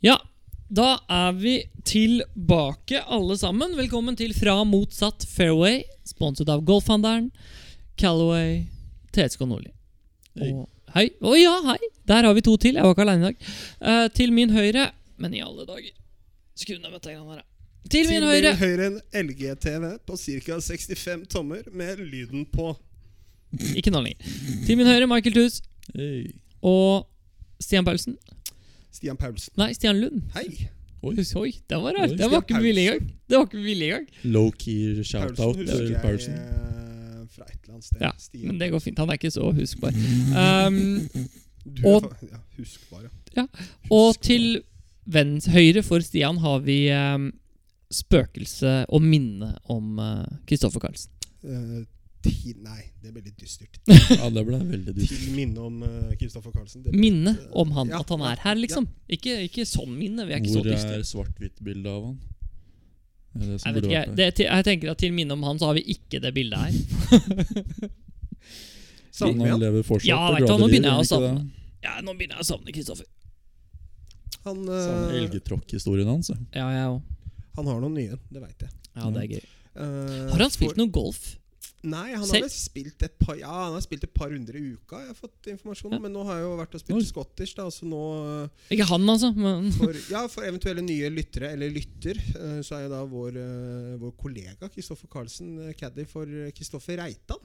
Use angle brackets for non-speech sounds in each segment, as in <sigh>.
Ja, da er vi tilbake alle sammen. Velkommen til Fra motsatt fairway, sponset av Golfhandelen, Callaway, TSK Nordli. Og hei. Å ja, hei! Der har vi to til. Jeg var ikke aleine i dag. Eh, til min høyre Men i alle dager. Skru ned dette greiene her. ja. Til min høyre. høyre en LG-TV på ca. 65 tommer med lyden på. Ikke nå lenger. Til min høyre Michael Thus Hei. og Stian Paulsen. Stian Paulsen. Nei, Stian Lund. Hei! Oi, oi det var Oi, rart. Det var Stian ikke med vilje engang. Det var ikke med vilje engang. Low-key shout-out Paulsen husker til jeg Paulsen. eh, fra et eller annet sted. Ja, Men Stian. det går fint. Han er ikke så <laughs> huskbar. Um, Du er og- fa- <laughs> ja, husk bare. Og til vens høyre for Stian har vi eh, spøkelse og minne om eh, Kristoffer Karlsen. Eh, ti, nei, det blir litt dystert. Ja, det ble veldig dyrt. Til minne om Kristoffer Karlsen. Det blir Minne litt, eh, om han, ja, at han er her, liksom. Ikke, ikke sånn minne. Vi er ikke så Hvor dystre. er svart-hvitt-bildet av han? Er det som Jeg, vet burde ikke, vært jeg, der? det, til- jeg tenker at Til minne om han så har vi ikke det bildet her. Savner han vi han? lever fortsatt Ja, på vet du hva, nå graderier, begynner jeg gjør å ikke savne. det? Ja, Nå begynner jeg å savne Kristoffer. Han, Savner eh, Elgetråkk-historien hans. ja. Ja, jeg òg. han har noen nye, det veit jeg. Ja, det er gøy. Eh, Har han for- spilt noe golf? Nei, han Selv- har vel spilt et par Ja, han har spilt et par runder i uka, jeg har fått informasjon om. Men nå har jeg jo vært og Oi. spilt Scottish, da, så nå eh, Ikke han, altså. Men For, <laughs> ja, for eventuelle nye lyttere, eller lytter, eh, så er jo da vår, eh, vår kollega Kristoffer Karlsen eh, caddy for eh, Kristoffer Reitan.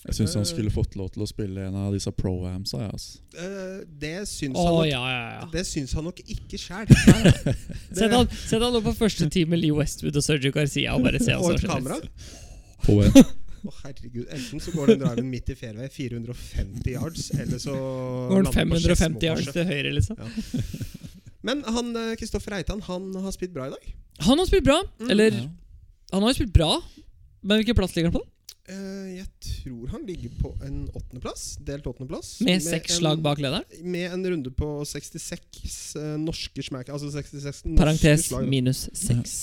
Jeg syns han skulle fått lov til å spille en av disse pro-amsa. Ja, altså. Eh, Det syns Å, han nok ja, ja, ja. Det syns han nok <laughs> ikke sjæl. Sett han, sett han opp på første time med Lee Westwood og Sergio Garcia og bare se hva som Og et skjer. kamera. På <laughs> en Å, herregud. Enten så går den driven midt i fairway, 450 yards, eller så Går han lander den på 550 Skedsmo, yards kanskje. til høyre, liksom? Men han, eh, Kristoffer Reitan han har spilt bra i dag. Han har spilt bra. Mm. Eller ja. Han har jo spilt bra, men hvilken plass ligger han på? Eh, Jeg tror han ligger på en åttendeplass. Delt åttendeplass. Med seks en- slag bak lederen. Med en runde på 66 eh, norske smack... Altså 66 norske Parentes slag, da. minus seks.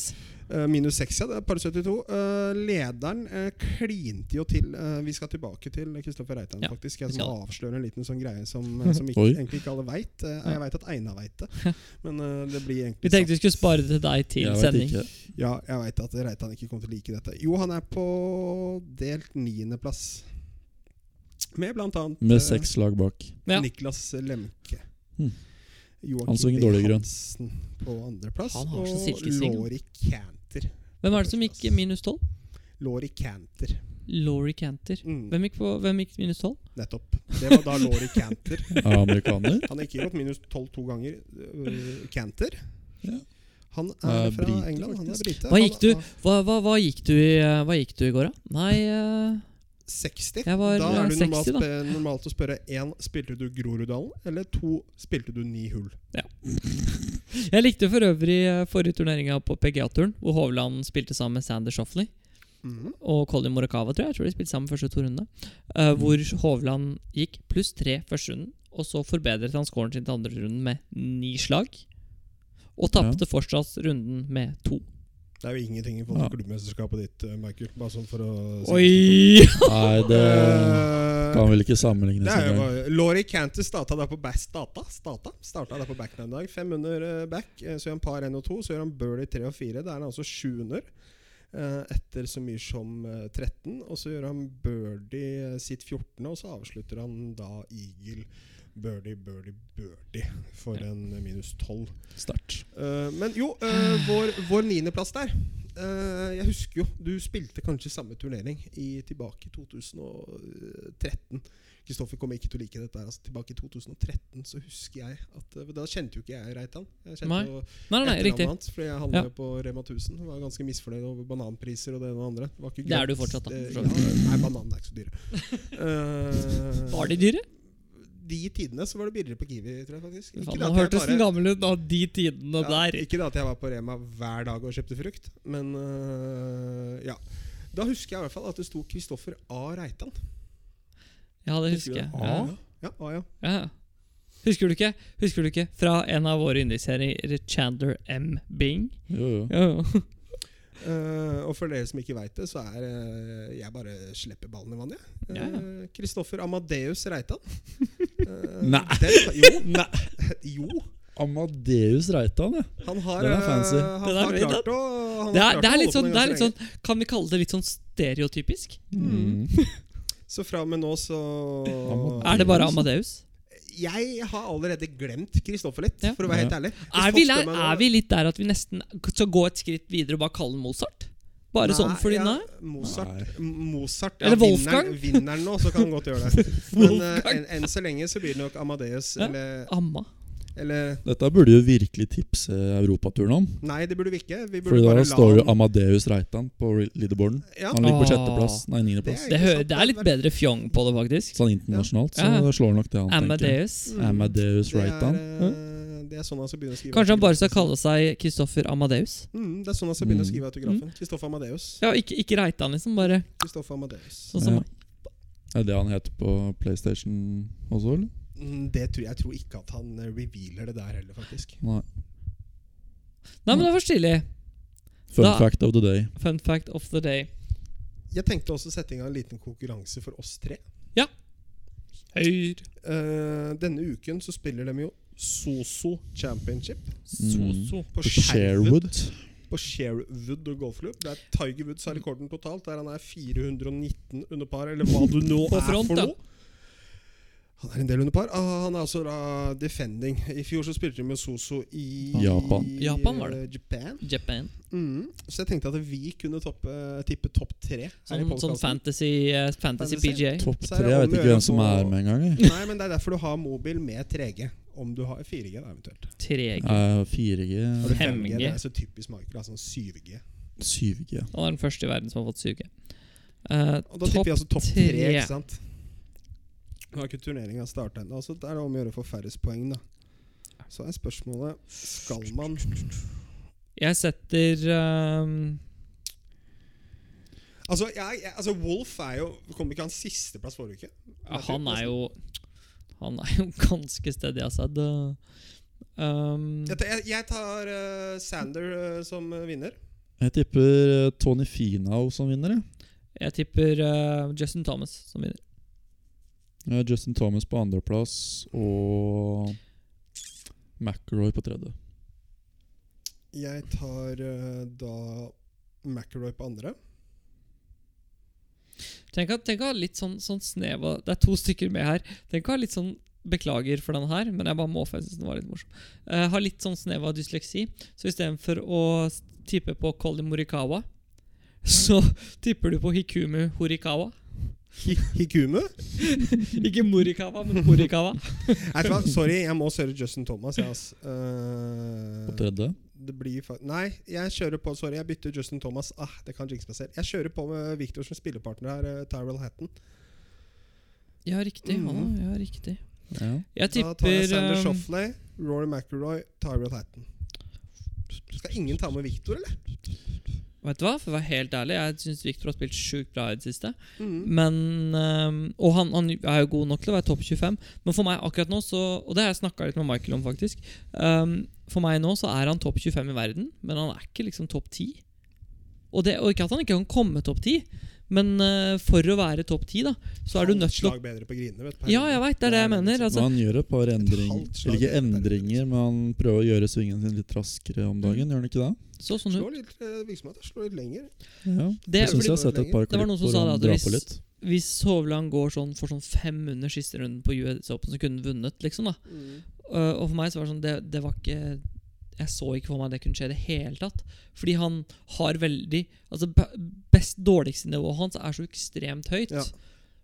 Eh, minus 6, ja. Det er par 72. Eh, lederen eh, klinte jo til eh, Vi skal tilbake til Kristoffer Reitan, Ja, faktisk. Jeg vi som skal avslører en liten sånn greie som, eh, som ikke, Oi. egentlig ikke alle veit. jeg veit at Einar veit <laughs> det, men eh, det blir Vi egentlig tenkte vi skulle spare det til deg til Jeg vet sending. ikke. sant. Ja, jeg veit at Reitan ikke kommer til å like dette. Jo, han er på delt niendeplass. Med blant annet eh, Med seks lag bak. Ja. Niklas Lemke. Hmm. Joakim Han synger B. dårlig grønn. Hansen på andreplass. Han har så Og silkesving. Laurie Canter. Hvem er det som gikk minus tolv? Laurie Canter. Laurie Canter. Mm. Hvem gikk, på, hvem gikk minus tolv? Nettopp. Det var da Laurie Canter. Er amerikaner. Han har ikke gått minus 12 to ganger. øh, Canter. Ja. Han Han er er fra brite, England. Han er faktisk. brite. Hva gikk Han- du, han- hva, hva, hva gikk du i eh, Hva gikk du i går, da? Nei eh, 60. Jeg var, da er eh, det 60, normalt, da. spe- normalt å spørre én spilte du Groruddalen, eller to spilte du ni hull. Jeg likte for øvrig eh, forrige turneringa på PGA-turen, hvor Hovland spilte sammen med Sander Shoffley. Mm. Mhm. og Colin Morikawa, tror jeg. Jeg tror de spilte sammen første to rundene. eh, Mm. hvor Hovland gikk pluss tre første runden, og så forbedret han scoren sin til andre runden med ni slag. Og tapte fortsatt runden med to. Det er jo ingenting i forhold til klubbmesterskapet ditt, eh, Michael. Bare sånn for å <laughs> si Oi! Nei, det Eh, kan vel ikke det sammenlignes er jo engang. bare- Laurie Canter starta der på back Starta, starta, starta der på backen en dag. Fem under eh, back, eh, så gjør han par én og to. Så gjør han birdie tre og fire. Da er han altså sju under. eh, Etter så mye som eh, 13. Og så gjør han birdie eh, sitt 14., og så avslutter han da eagle. Birdie, birdie, birdie for en eh, minus 12. Sterkt. Eh, men jo, eh, vår, vår niendeplass der eh, Jeg husker jo, du spilte kanskje samme turnering i, tilbake i 2013. Kristoffer kommer ikke til å like dette. her altså, Tilbake i 2013 så husker jeg at eh, Da kjente jo ikke jeg Reitan. Jeg kjente Nei. jo Nei, nei, nei, etternavnet riktig. hans, fordi jeg handla på Rema 1000. Var ganske misfornøyd over bananpriser og det ene og det andre. Det, var ikke Det er du gratis. fortsatt, da, Det- for så ja, nei, bananen er ikke så <laughs> dyre. Eh, Var de dyre? De tidene så var det billigere på Kiwi, tror jeg faktisk. Ikke Faen, det nå at jeg hørtes den gammel ut av de tidene ja, der. Ikke det at jeg var på Rema hver dag og kjøpte frukt, men øh, ja. Da husker jeg i hvert fall at det sto Kristoffer A. Reitan. Ja, det husker Husker du jeg. det? Ja. Ja, A, ja. Ja. ja. Husker du ikke? Husker du ikke? Fra en av våre yndlingsserier, Chandler M. Bing. Jo, jo. Ja, ja. Eh, og for dere som ikke veit det, så er eh, jeg bare slipper ballen i vannet. jeg. Ja, ja. Eh, <laughs> Kristoffer Amadeus Reitan. Eh, Nei. <laughs> Den, jo. Nei. jo. Amadeus Reitan, ja. Han har, Den er eh, fancy. Han Den er har fin, klart å han Det har er, klart det å er holde litt på sånn, den det er ganske litt sånn Kan vi kalle det litt sånn stereotypisk? Mm. lenge. Så fra og med nå så Amadeus. Er det bare sånn- Amadeus? Jeg har allerede glemt Kristoffer litt, Ja. for å være helt Ja. ærlig. Er vi, der, er vi litt der at vi nesten skal gå et skritt videre og bare kalle den Mozart? Bare sånn fordi den er? Mozart. Nei. Mozart Eller vinneren- Wolfgang? <laughs> Vinneren nå, så kan han godt gjøre det. Men eh, enn enn så lenge så blir det nok Amadeus Ja. eller, Amma. eller Dette burde jo virkelig tipse Europaturen om. Nei, det burde vi ikke. Vi burde Fordi da bare står jo la han Amadeus Reitan på re- leaderboarden. ja, Han ligger på Ah. sjetteplass, nei, niendeplass. Det Det, hø- det er litt bedre fjong på det, faktisk. Så han internasjonalt, så Ja. det slår nok det han Sånn tenker. Amadeus. Amadeus Mm. det er, Reitan. eh, det er sånn han skal begynne å skrive Kanskje han bare skal autografen. kalle seg Kristoffer Amadeus? Mm, Det er sånn han skal begynne å Mm. skrive autografen. Kristoffer Amadeus. Ja, ikke, ikke Reitan, liksom. Bare Kristoffer Amadeus. sånn som Ja. Er det han heter på PlayStation også, eller? Mm, Det tror jeg, jeg tror ikke at han eh, revealer det der heller, faktisk. Nei. Nei, men det var stilig. Fun Da- fact of the day. Fun fact of the day. Jeg tenkte også å sette i gang en liten konkurranse for oss tre. Høyr. Eh, denne uken så spiller de jo Soso Championship Soso. på, Mm. På Sherwood. Sherwood. På Sherwood golfklubb. Der Tiger Woods har rekorden totalt, der han er 419 under par, eller hva du nå På er front, for da. noe. Han er en del under par. Ah, han er altså da defending. I fjor så spilte de med Soso i Japan. Japan var det. eh, Japan. Japan. Mm. Så jeg tenkte at vi kunne toppe, tippe topp tre. her i Sånn, sånn podcasten. fantasy, eh, fantasy Fantasy. PGA. Topp Så er det tre. Jeg om vet å ikke gjøre hvem som på- er med engang. jeg. Nei, men det er derfor du har mobil med 3G. Om du har 4G, da, eventuelt. Mm. 3G. Eh, 4G, Har du 5G, 5G? det er så typisk marked. Sånn 7G. 7G. Han er den første i verden som har fått 7G. Eh, Og da tipper jeg altså topp Topp 3, tre. ikke sant? Nå har ikke turneringa starta ennå, så det er det om å gjøre å få færrest poeng, da. Så er spørsmålet Skal man jeg setter ehm, Altså, jeg, jeg, altså Wolf er jo Kom ikke han sisteplass forrige uke? ja, Han er jo Han er jo <laughs> ganske stedig, altså. Det, ehm, Jeg, jeg, jeg tar eh, Sander eh, som eh, vinner. Jeg tipper eh, Tony Finau som vinner. jeg. jeg tipper eh, Justin Thomas som vinner. Eh, Justin Thomas på andreplass og McIlroy på tredje. Jeg tar eh, da McIlroy på andre. Tenk å- tenk å ha litt sånn, sånn snev av Det er to stykker med her. Tenk å ha litt sånn Beklager for den her, men jeg bare må, for jeg synes den var litt morsom. Eh, har litt sånn snev av dysleksi, så istedenfor å s- tippe på Colin Morikawa, <laughs> så tipper du på Hikumu Horikawa. <laughs> Hikume? Ikke Morikawa, men Horikawa. Nei, vet du hva? Sorry, jeg må kjøre Justin Thomas. Jeg, ass. Eh, På tredje. det blir fa Nei, jeg kjører på. Sorry, jeg bytter Justin Thomas. Ah, det kan jinx meg selv. Jeg kjører på med Victor som spillepartner her, eh, Tyrell Hatton. Ja, riktig. Han, ja, riktig. Ja. Jeg Da tar jeg tipper Sander ehm, Shoffley, Rory McIlroy, Tyrell Hatton. Skal ingen ta med Victor, eller? Vet du hva, for å være helt ærlig, jeg syns Victor har spilt sjukt bra i det siste. Mhm. Men øhm, Og han, han er jo god nok til å være topp 25, men for meg akkurat nå, så, og det har jeg snakka litt med Michael om, faktisk øhm, For meg nå så er han topp 25 i verden, men han er ikke liksom topp 10. Og, det, og ikke at han ikke kan komme topp 10, men øh, for å være topp 10, da, så er du Halvt nødt til å slag bedre på grinene, vet du. liksom- Ja, jeg veit, det er det jeg mener. Men Altså, han gjør et par endringer. halvt slag Eller ikke etter, endringer, liksom. men han prøver å gjøre svingen sin litt raskere om Mm. dagen. Gjør han ikke det? så sånn Slå ut. litt, eh, virksomhet, da. slå litt lenger. Ja. Det, jeg syns fordi jeg har sett et par Det var klipp noen som hvor sa han det at drar hvis- på litt. hvis Hovland går sånn for sånn fem under siste runden på US Open, så kunne han vunnet, liksom. da Mm. Øh, og for meg så var det sånn Det, det var ikke Jeg så ikke for meg det kunne skje i det hele tatt. Fordi han har veldig Altså be- best dårligste nivået hans er så ekstremt høyt. Ja.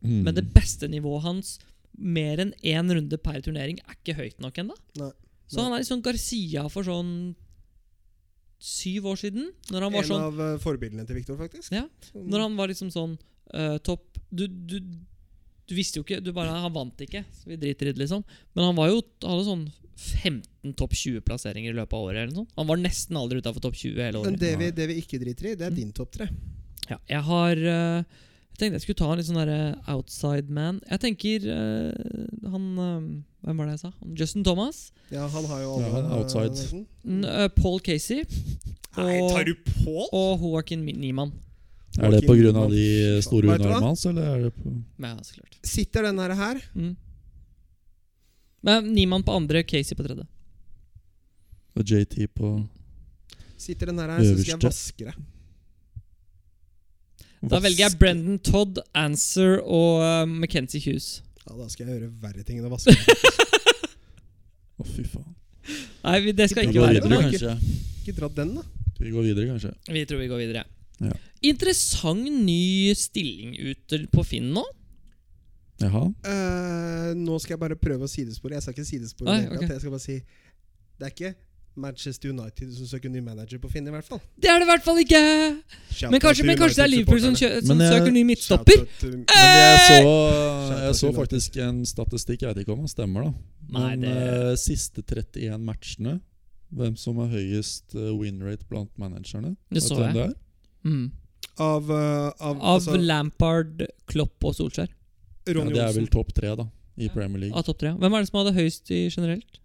Mm. Men det beste nivået hans, mer enn én runde per turnering, er ikke høyt nok ennå. Nei. Så han er litt sånn Garcia for sånn syv år siden. Når han var en sånn av eh, forbildene til Victor, faktisk. Ja, Mm. Når han var liksom sånn eh, topp du, du, du visste jo ikke du bare, Han vant ikke, så vi driter i det, liksom. Men han var jo, hadde sånn 15 topp 20-plasseringer i løpet av året. eller noe sånt. Han var nesten aldri utafor topp 20 hele Men året. det vi, det vi ikke driter i, det er Mm. din topp tre. Ja, jeg har eh, Jeg tenkte jeg skulle ta en litt sånn derre outside man. Jeg tenker eh, han eh, Hvem var det jeg sa? Han, Justin Thomas. Ja, han har jo Ja, alle han er outside. eh, nesten. n- eh, Paul Casey. Nei, Og- tar du Paul? Og Joaquin Niemann. Er det på grunn av de Vet du store hva? underarmene hans, eller er det på Men, ja, så klart. Sitter den her her? Mm. Men Niemann på andre, Casey på tredje. Og JT på Sitter den her, her så skal jeg Øverste. vaske det. Da velger jeg Brendan Todd, Answer og eh, Mackenzie Hughes. Ja, da skal jeg gjøre verre ting enn å vaske. Å, fy faen. Nei, vi- det skal Vi ikke går være videre, noe. kanskje. Ikke dra den, da. Vi går videre, kanskje. Vi tror vi går videre. Ja. Interessant ny stilling ute på Finn nå. Jaha. Eh, nå skal jeg bare prøve å sidespore. Jeg skal ikke sidespore. Nei, i det hele ok. tatt. Jeg skal bare si Det er ikke Manchester United som søker ny manager på Finn, i hvert fall. Det er det i hvert fall ikke! Shout Men out kanskje, til men kanskje det er Liverpool som, United-supporterne. kjø, som Men eh, jeg- søker ny Shout midtstopper? out til- Eh! Men jeg så, eh, Shout-out jeg så til faktisk en statistikk, jeg vet ikke om den stemmer, da. Nei, Men det- eh, siste 31 matchene, hvem som har høyest eh, win rate blant managerne? Det Vet så du hvem jeg. Det er? Mm. Av, eh, av, Av altså, Lampard, Klopp og Solskjær. Ja, Ronny det er Olsen. vel topp tre, da, i Premier League. Av topp tre. Hvem er det som hadde høyest i generelt?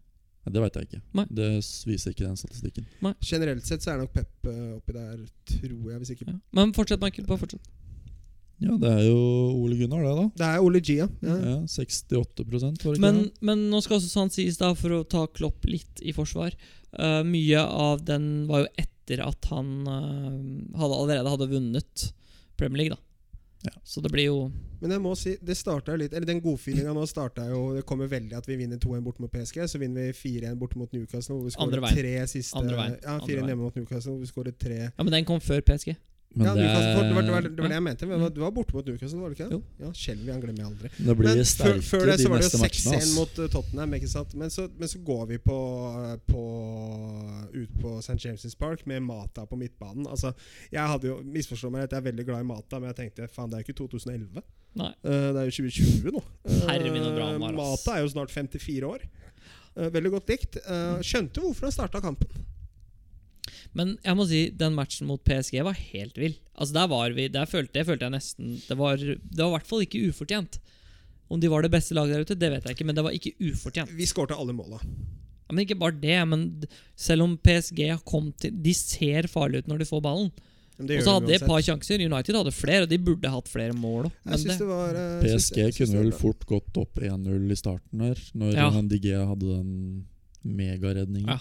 Nei, det veit jeg ikke. Nei. Det s- viser ikke den statistikken. Generelt sett så er nok Pep eh, oppi der, tror jeg. Hvis ikke Ja. Men fortsett, Michael. Bare fortsett. Ja, det er jo Ole Gunnar, det, da. Det er Ole Gia. Ja. Ja, 68 var det ikke Men, det? men nå skal også sant sies, da, for å ta Klopp litt i forsvar eh, Mye av den var jo etter at han eh, hadde, allerede hadde vunnet Premier League, da. Ja. Så det blir jo Men jeg må si, det startet jo litt Eller den godfeelinga nå starta jo Det kommer veldig at vi vinner 2-1 borte mot PSG, så vinner vi 4-1 borte mot Newcastle, hvor vi Andre skårer veien. tre siste Andre veien. Ja, Andre 4-1 veien. hjemme mot Newcastle, hvor vi skårer tre Ja, men den kom før PSG. Men ja, det, Newcastle, for, det, var, det, var, det var Ja. det jeg mente. Men det var- du var borte mot Newcastle, var det ikke? Mm. Jo. det? Ja, Skjelven han glemmer jeg aldri. det blir Men før, sterkere før det de så var det neste jo matchene. 6-1 ass. mot eh, Tottenham. ikke sant? Men så, men så går vi på, eh, på eh, ut på St. James' Park med Mata på midtbanen. Altså, Jeg hadde jo misforstå meg at jeg er veldig glad i Mata, men jeg tenkte faen, det er jo ikke 2011. Nei. Eh, det er jo 2020 nå. Eh, Herre min og bra han var, ass. Mata er jo snart 54 år. Eh, veldig godt likt. Eh, skjønte hvorfor han starta kampen. Men jeg må si, den matchen mot PSG var helt vill. Altså Der var vi, der følte, det følte jeg nesten Det var det var i hvert fall ikke ufortjent. Om de var det beste laget der ute, det vet jeg ikke, men det var ikke ufortjent. Vi skårte alle måla. Ja, men ikke bare det, men d- selv om PSG har kommet til De ser farlige ut når de får ballen. Men Og gjør så hadde vi de et par uansett. sjanser. United hadde flere, og de burde hatt flere mål. også. Jeg Men syns det, det var eh, jeg syns- PSG jeg syns kunne det vel var bra. fort gått opp 1-0 i starten her, når Ja. han DG hadde den megaredningen. Ja.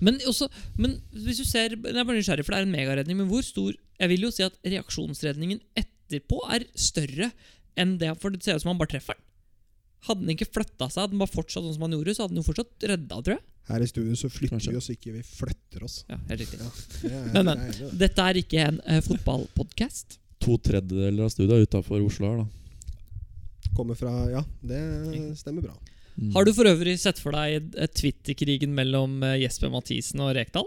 men, også, men hvis du ser Jeg er bare nysgjerrig, for det er en megaredning. Men hvor stor Jeg vil jo si at reaksjonsredningen etterpå er større enn det For det ser ut som han bare treffer den. Hadde den ikke flytta seg, hadde den bare fortsatt sånn som han gjorde, så hadde den jo fortsatt redda, tror jeg. Her i studio så flytter Kanskje. vi oss ikke, vi flytter oss. Ja, helt riktig. Ja, det er, Men, jeg er enig i det. Dette er ikke en uh, fotballpodkast. To tredjedeler av studiet er utafor Oslo her, da. Kommer fra Ja, det stemmer bra. Mm. Har du for øvrig sett for deg eh, Twitter-krigen mellom eh, Jesper Mathisen og Rekdal?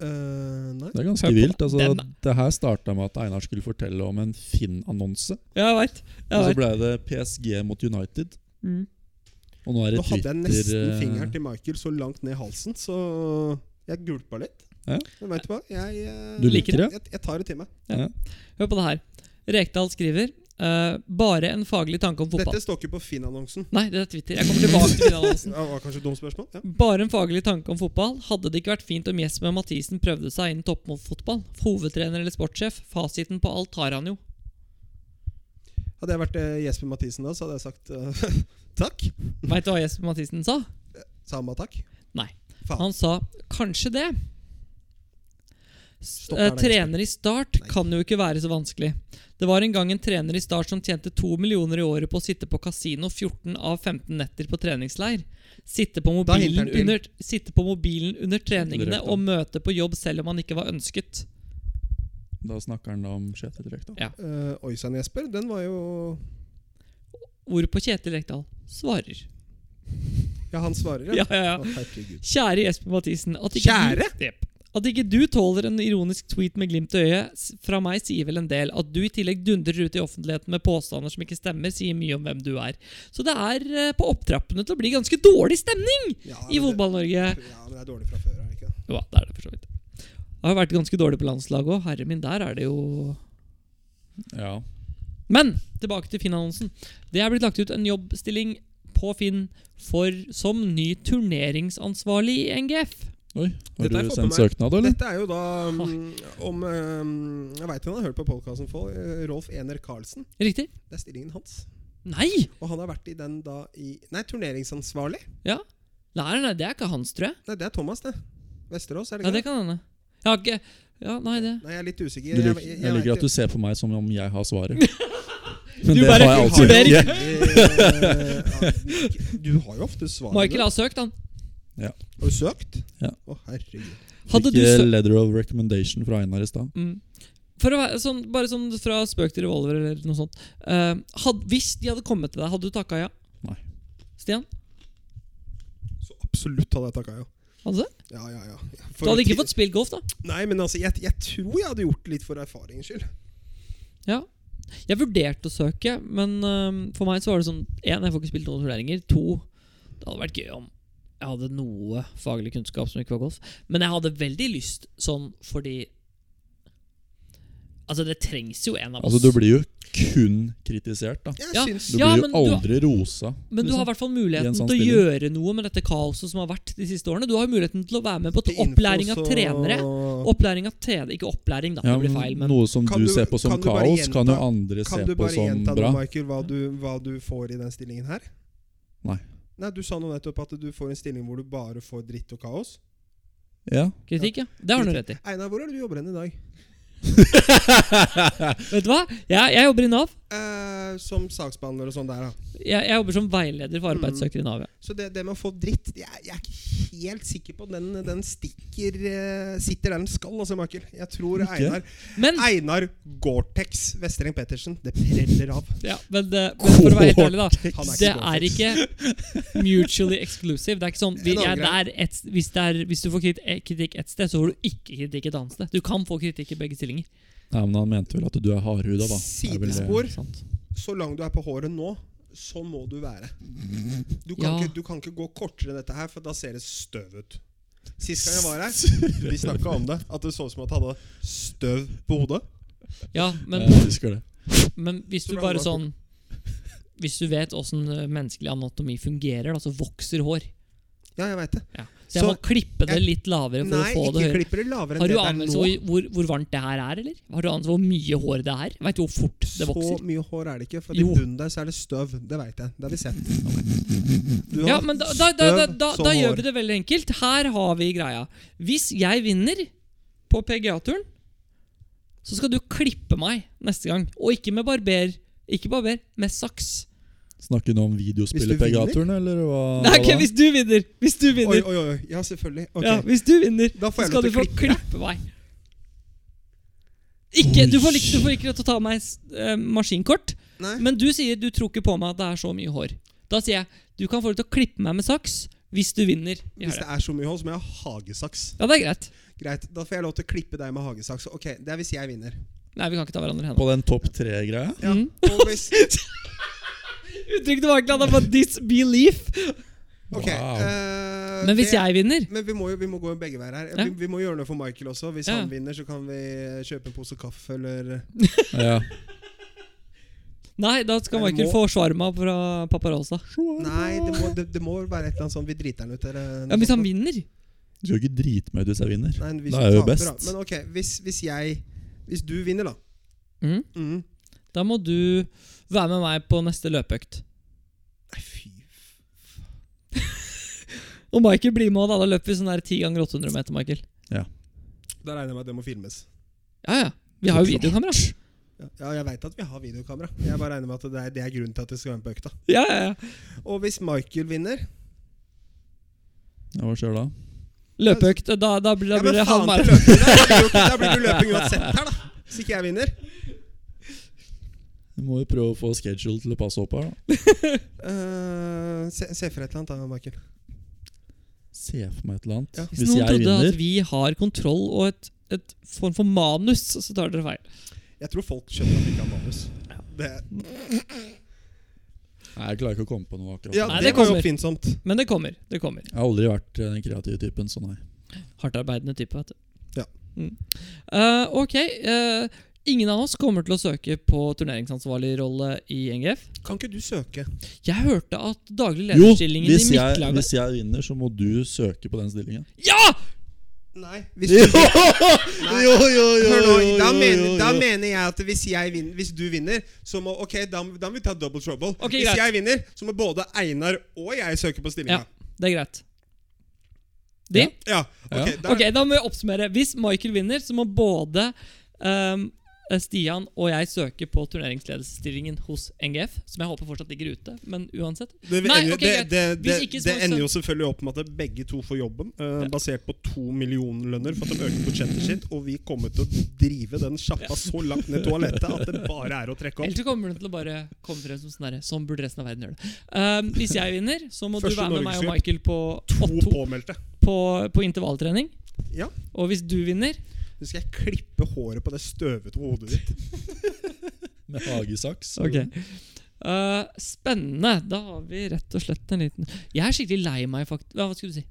Eh, nei. Det er ganske Hør på vilt. det. altså Den- Det her starta med at Einar skulle fortelle om en Finn-annonse. Ja, jeg veit. Og så ble det PSG mot United. Mm. Og nå er det Nå hadde jeg Twitter nesten eh, fingeren til Michael så langt ned i halsen, så jeg gulpa litt. Ja. Men vet du hva? Jeg, eh, Du liker det? Jeg, jeg tar det til meg. Hør på det her. Rekdal skriver eh, bare en faglig tanke om fotball. Dette står ikke på Finn-annonsen. Nei, det er Twitter. Jeg kommer tilbake til den annonsen. Det var kanskje et dumt spørsmål? Ja. Bare en faglig tanke om fotball. Hadde det ikke vært fint om Jesper Mathisen prøvde seg innen toppfotball? Hovedtrener eller sportssjef? Fasiten på alt har han jo. Hadde jeg vært eh, Jesper Mathisen da, så hadde jeg sagt eh, <laughs> takk. Veit du hva Jesper Mathisen sa? Sama takk. Nei. Faen. Han sa kanskje det. S- Stopp eh, her, da, Jesper. trener i Start Nei. kan jo ikke være så vanskelig. Det var en gang en trener i Start som tjente to millioner i året på å sitte på kasino 14 av 15 netter på treningsleir. Sitte på Da hinter mobilen han til. under, sitte på mobilen under treningene Direkte. og møte på jobb selv om han ikke var ønsket. Da snakker han da om Kjetil Rekdal. Ja. Eh, Oi sann, Jesper. Den var jo Hvorpå Kjetil Rekdal svarer. Ja, han svarer, Ja, ja, ja. Å, herregud. Kjære Jesper Mathisen. At Kjære? Du, Jep. at ikke du tåler en ironisk tweet med glimt i øyet s- fra meg, sier vel en del. At du i tillegg dundrer ut i offentligheten med påstander som ikke stemmer, sier mye om hvem du er. Så det er eh, på opptrappene til å bli ganske dårlig stemning Ja, i men det- Fotball-Norge. Ja, men det er dårlig fra før, er det ikke? Jo, det er det for så vidt. Det har vært ganske dårlig på landslaget òg. Herre min, der er det jo Ja. Men tilbake til Finn-annonsen. Det er blitt lagt ut en jobbstilling på Finn for som ny turneringsansvarlig i NGF. Oi, har Dette har jeg du fått sendt med meg. søknad, eller? Dette er jo da mm, om eh, Jeg veit han har hørt på podkasten for eh, Rolf Ener Karlsen. Riktig? Det er stillingen hans. Nei! Og han har vært i den da i Nei, turneringsansvarlig. Ja. Nei, nei, nei, det er ikke hans, tror jeg. Nei, det er Thomas, det. Vesterås, er det Ja, det ikke det? kan hende. Jeg har ikke Ja, nei, det Nei, jeg er litt usikker. Jeg, lik, jeg liker at du ser på meg som om jeg har svaret. Men Du det bare har jeg for det alltid er ikke. Eh, ikke eh, Du har jo ofte svar. Michael har søkt, han. Har du søkt? Ja. Å, herregud. Hadde du Fikk eh, søkt letter of recommendation fra Einar i stad. mm. For å være sånn, Bare sånn fra spøk til revolver eller noe sånt. Eh, had, hvis de hadde kommet til deg, hadde du takka ja? Nei. Stian? Så absolutt hadde jeg takka ja. Hadde du? Ja, ja, ja. For Du hadde å ikke tri- fått spilt golf, da? Nei, men altså, jeg, jeg tror jeg hadde gjort litt for erfaringens skyld. Ja. Jeg vurderte å søke, men øhm, for meg så var det sånn Én, jeg får ikke spilt noen turneringer. To, det hadde vært gøy om jeg hadde noe faglig kunnskap som ikke var golf. Men jeg hadde veldig lyst sånn fordi Altså, det trengs jo en av oss. Altså, du blir jo kun kritisert, da. Jeg Ja. syns Du Ja, blir men jo du- aldri rosa. men du har i hvert fall muligheten I en sånn til å gjøre noe med dette kaoset som har vært de siste årene. Du har jo muligheten til å være med på til et info, opplæring av så- trenere. Opplæring av trenere Ikke opplæring, da. Ja, det blir men feil. Men noe som Kan du du- ser på som kan du bare kaos, gjenta- kan jo andre Kan se du på bare som gjenta nå, bra. Michael, hva du, hva du får i den stillingen her? Nei. Nei, Du sa nå nettopp at du får en stilling hvor du bare får dritt og kaos. Ja. kritikk, ja. Det har du rett i. Einar, hvor er det du jobber hen i dag? Vet du hva? Jeg, jeg jobber i Nav. Eh, som saksbehandler og sånn der, da. Jeg, jeg jobber som veileder for Mm. arbeidssøkere i Nav. ja. Så det, det med å få dritt Jeg, jeg er ikke helt sikker på den, den stikker eh, Sitter der den skal, altså, Michael. Jeg tror Ikke? Einar Men, Einar Gore-Tex Vestreng Pettersen. Det preller av. ja, men, det, men for å være helt ærlig, da. Han Det Gore-Tex. er ikke mutually exclusive. Det er ikke sånn vi, En jeg, annen det er et, hvis, det er, hvis du får krit- eh, kritikk ett sted, så får du ikke kritikk et annet sted. Du kan få kritikk i begge stillinger. Nei, men han mente vel at du er hardhuda, da. Er vel det- Sidespor. Sant. Så lang du er på håret nå, sånn må du være. Du Ja. kan, ikke, du kan ikke gå kortere enn dette her, for da ser det støv ut. Sist gang jeg var her, <laughs> vi snakka om det. At det så ut som at han hadde støv på hodet. Ja, men, Jeg husker det. men hvis du Så bare bra. sånn <laughs> Hvis du vet åssen eh, menneskelig anatomi fungerer, da, så vokser hår. Ja, jeg veit det. Så jeg må Så- klippe det jeg- litt lavere for Nei, å få det ikke høyere. klipper det lavere enn Har du det anelse der hvor, nå. hvor, hvor varmt det her er, eller? Har du anelse hvor mye hår det er? Veit du hvor fort det Så vokser? mye hår er det ikke, for i Jo. bunnen der så er det støv. Det veit jeg. Det har vi sett. Du Ja, har men da, da, da, da, støv da, som da gjør hår. vi det veldig enkelt. Her har vi greia. Hvis jeg vinner på PGA-turen, så skal du klippe meg neste gang. Og ikke med barber. Ikke barber, med saks. Snakker du nå om Hvis du videospillet vinner? Pegaturen, eller hva? Nei, ok, hva da? hvis du vinner! Hvis du Oi, vinner, oi, oi. Ja, selvfølgelig. Ok. ja, hvis du vinner Da får så jeg skal lov du til få å klippe, meg. Ikke, du får ikke, du får ikke lov til å ta meg eh, maskinkort, Nei. men du sier du tror ikke på meg at det er så mye hår. Da sier jeg du kan få lov til å klippe meg med saks hvis du vinner. i Hvis helga. det er så mye hår, så må jeg ha hagesaks. Ja, det er greit. Greit, Da får jeg lov til å klippe deg med hagesaks. Ok, Det er hvis jeg vinner. Nei, vi kan ikke ta hverandre i hendene. På den topp tre-greia? Ja. Mm. Og <laughs> hvis Uttrykket var ikke at det var disbelief. Ok. Wow. eh, Men hvis det- jeg vinner Men vi må jo vi må gå begge veier her. Ja. Vi, vi må gjøre noe for Michael også. Hvis Ja. han vinner, så kan vi kjøpe en pose kaffe eller <laughs> Ja. Nei, da skal Nei, det Michael må- få shawarma fra Papa Rosa. Nei, det må, det, det må være et eller annet sånn Vi driter den ut. Eller, noe Ja, men Hvis han sånt. vinner Du skal jo ikke drite meg ut hvis jeg vinner. Nei, hvis Da du er jo taper, best. da. Men ok, hvis, hvis jeg Hvis du vinner, da. Mhm. Mhm. Da må du være med meg på neste løpeøkt. Nei, fy Og Michael blir med, og da løper vi sånn der 10 ganger 800 meter. Michael Da regner jeg med at det må filmes. Ja, ja Vi har jo videokamera. Ja, ja jeg veit at vi har videokamera. Jeg bare regner med at det er, det er grunnen til at det skal være med på økta. Ja, ja, ja Og hvis Michael vinner Ja, hva skjer da? Løpeøkt. Da, da blir, da Ja, men blir det faen halv til maraton. løping, da blir det jo ikke- da blir det jo løping uansett her, da. Hvis ikke jeg vinner. Vi må jo prøve å få schedule til å passe opp her. da Eh, se, se for et eller annet, da, Michael. Se for meg et eller annet. Ja. Hvis, Hvis noen jeg trodde vinner at vi har kontroll og et, et form for manus, så tar dere feil. Jeg tror folk skjønner at vi ikke har manus. Det, Nei, Jeg klarer ikke å komme på noe akkurat. ja, Nei, det, det var jo kommer. oppfinnsomt. Men det kommer. det kommer Jeg har aldri vært eh, den kreative typen, så nei. Hardtarbeidende type, vet du. Ja. Mm. Eh, ok. eh, ingen av oss kommer til å søke på turneringsansvarligrolle i NGF. Kan ikke du søke? Jeg hørte at daglig Jo, lederstillingen i hvis jeg, Mikkelaget hvis jeg vinner, så må du søke på den stillingen. Ja! Nei. Hvis du, Nei. jo, jo, hør nå, da, mener, jo, da jo. mener jeg at hvis, jeg vinner, hvis du vinner, så må Ok, da, da må vi ta double trouble. Ok, hvis greit. jeg vinner, så må både Einar og jeg søke på stillinga. Ja, det er greit. Det? Ja, ok. Der, Ok, da må vi oppsummere. Hvis Michael vinner, så må både ehm, Stian og jeg søke på turneringsledelsesstillingen hos NGF. Som jeg håper fortsatt ligger ute, men uansett. Det, Nei, ender, ok, det, greit. det, det, Hvis ikke, så det må vi ender jo selvfølgelig opp med at begge to får jobben, eh, Ja. basert på to millionlønner for at de øker budsjettet sitt. Og vi kommer til å drive den sjappa så langt ned toalettet at det bare er å trekke Ellers opp. så kommer den til å bare komme frem som sånn derre Sånn burde resten av verden gjøre det. Ehm, hvis jeg vinner, så må du Første være med meg og Norgescup. Michael på, To opp- to- påmeldte. på, på intervalltrening. Ja. Og hvis du vinner Nå skal jeg klippe håret på det støvete hodet ditt. Med hagesaks. Eh, Spennende. Da har vi rett og slett en liten Jeg er skikkelig lei meg, faktisk. Hva skulle du si?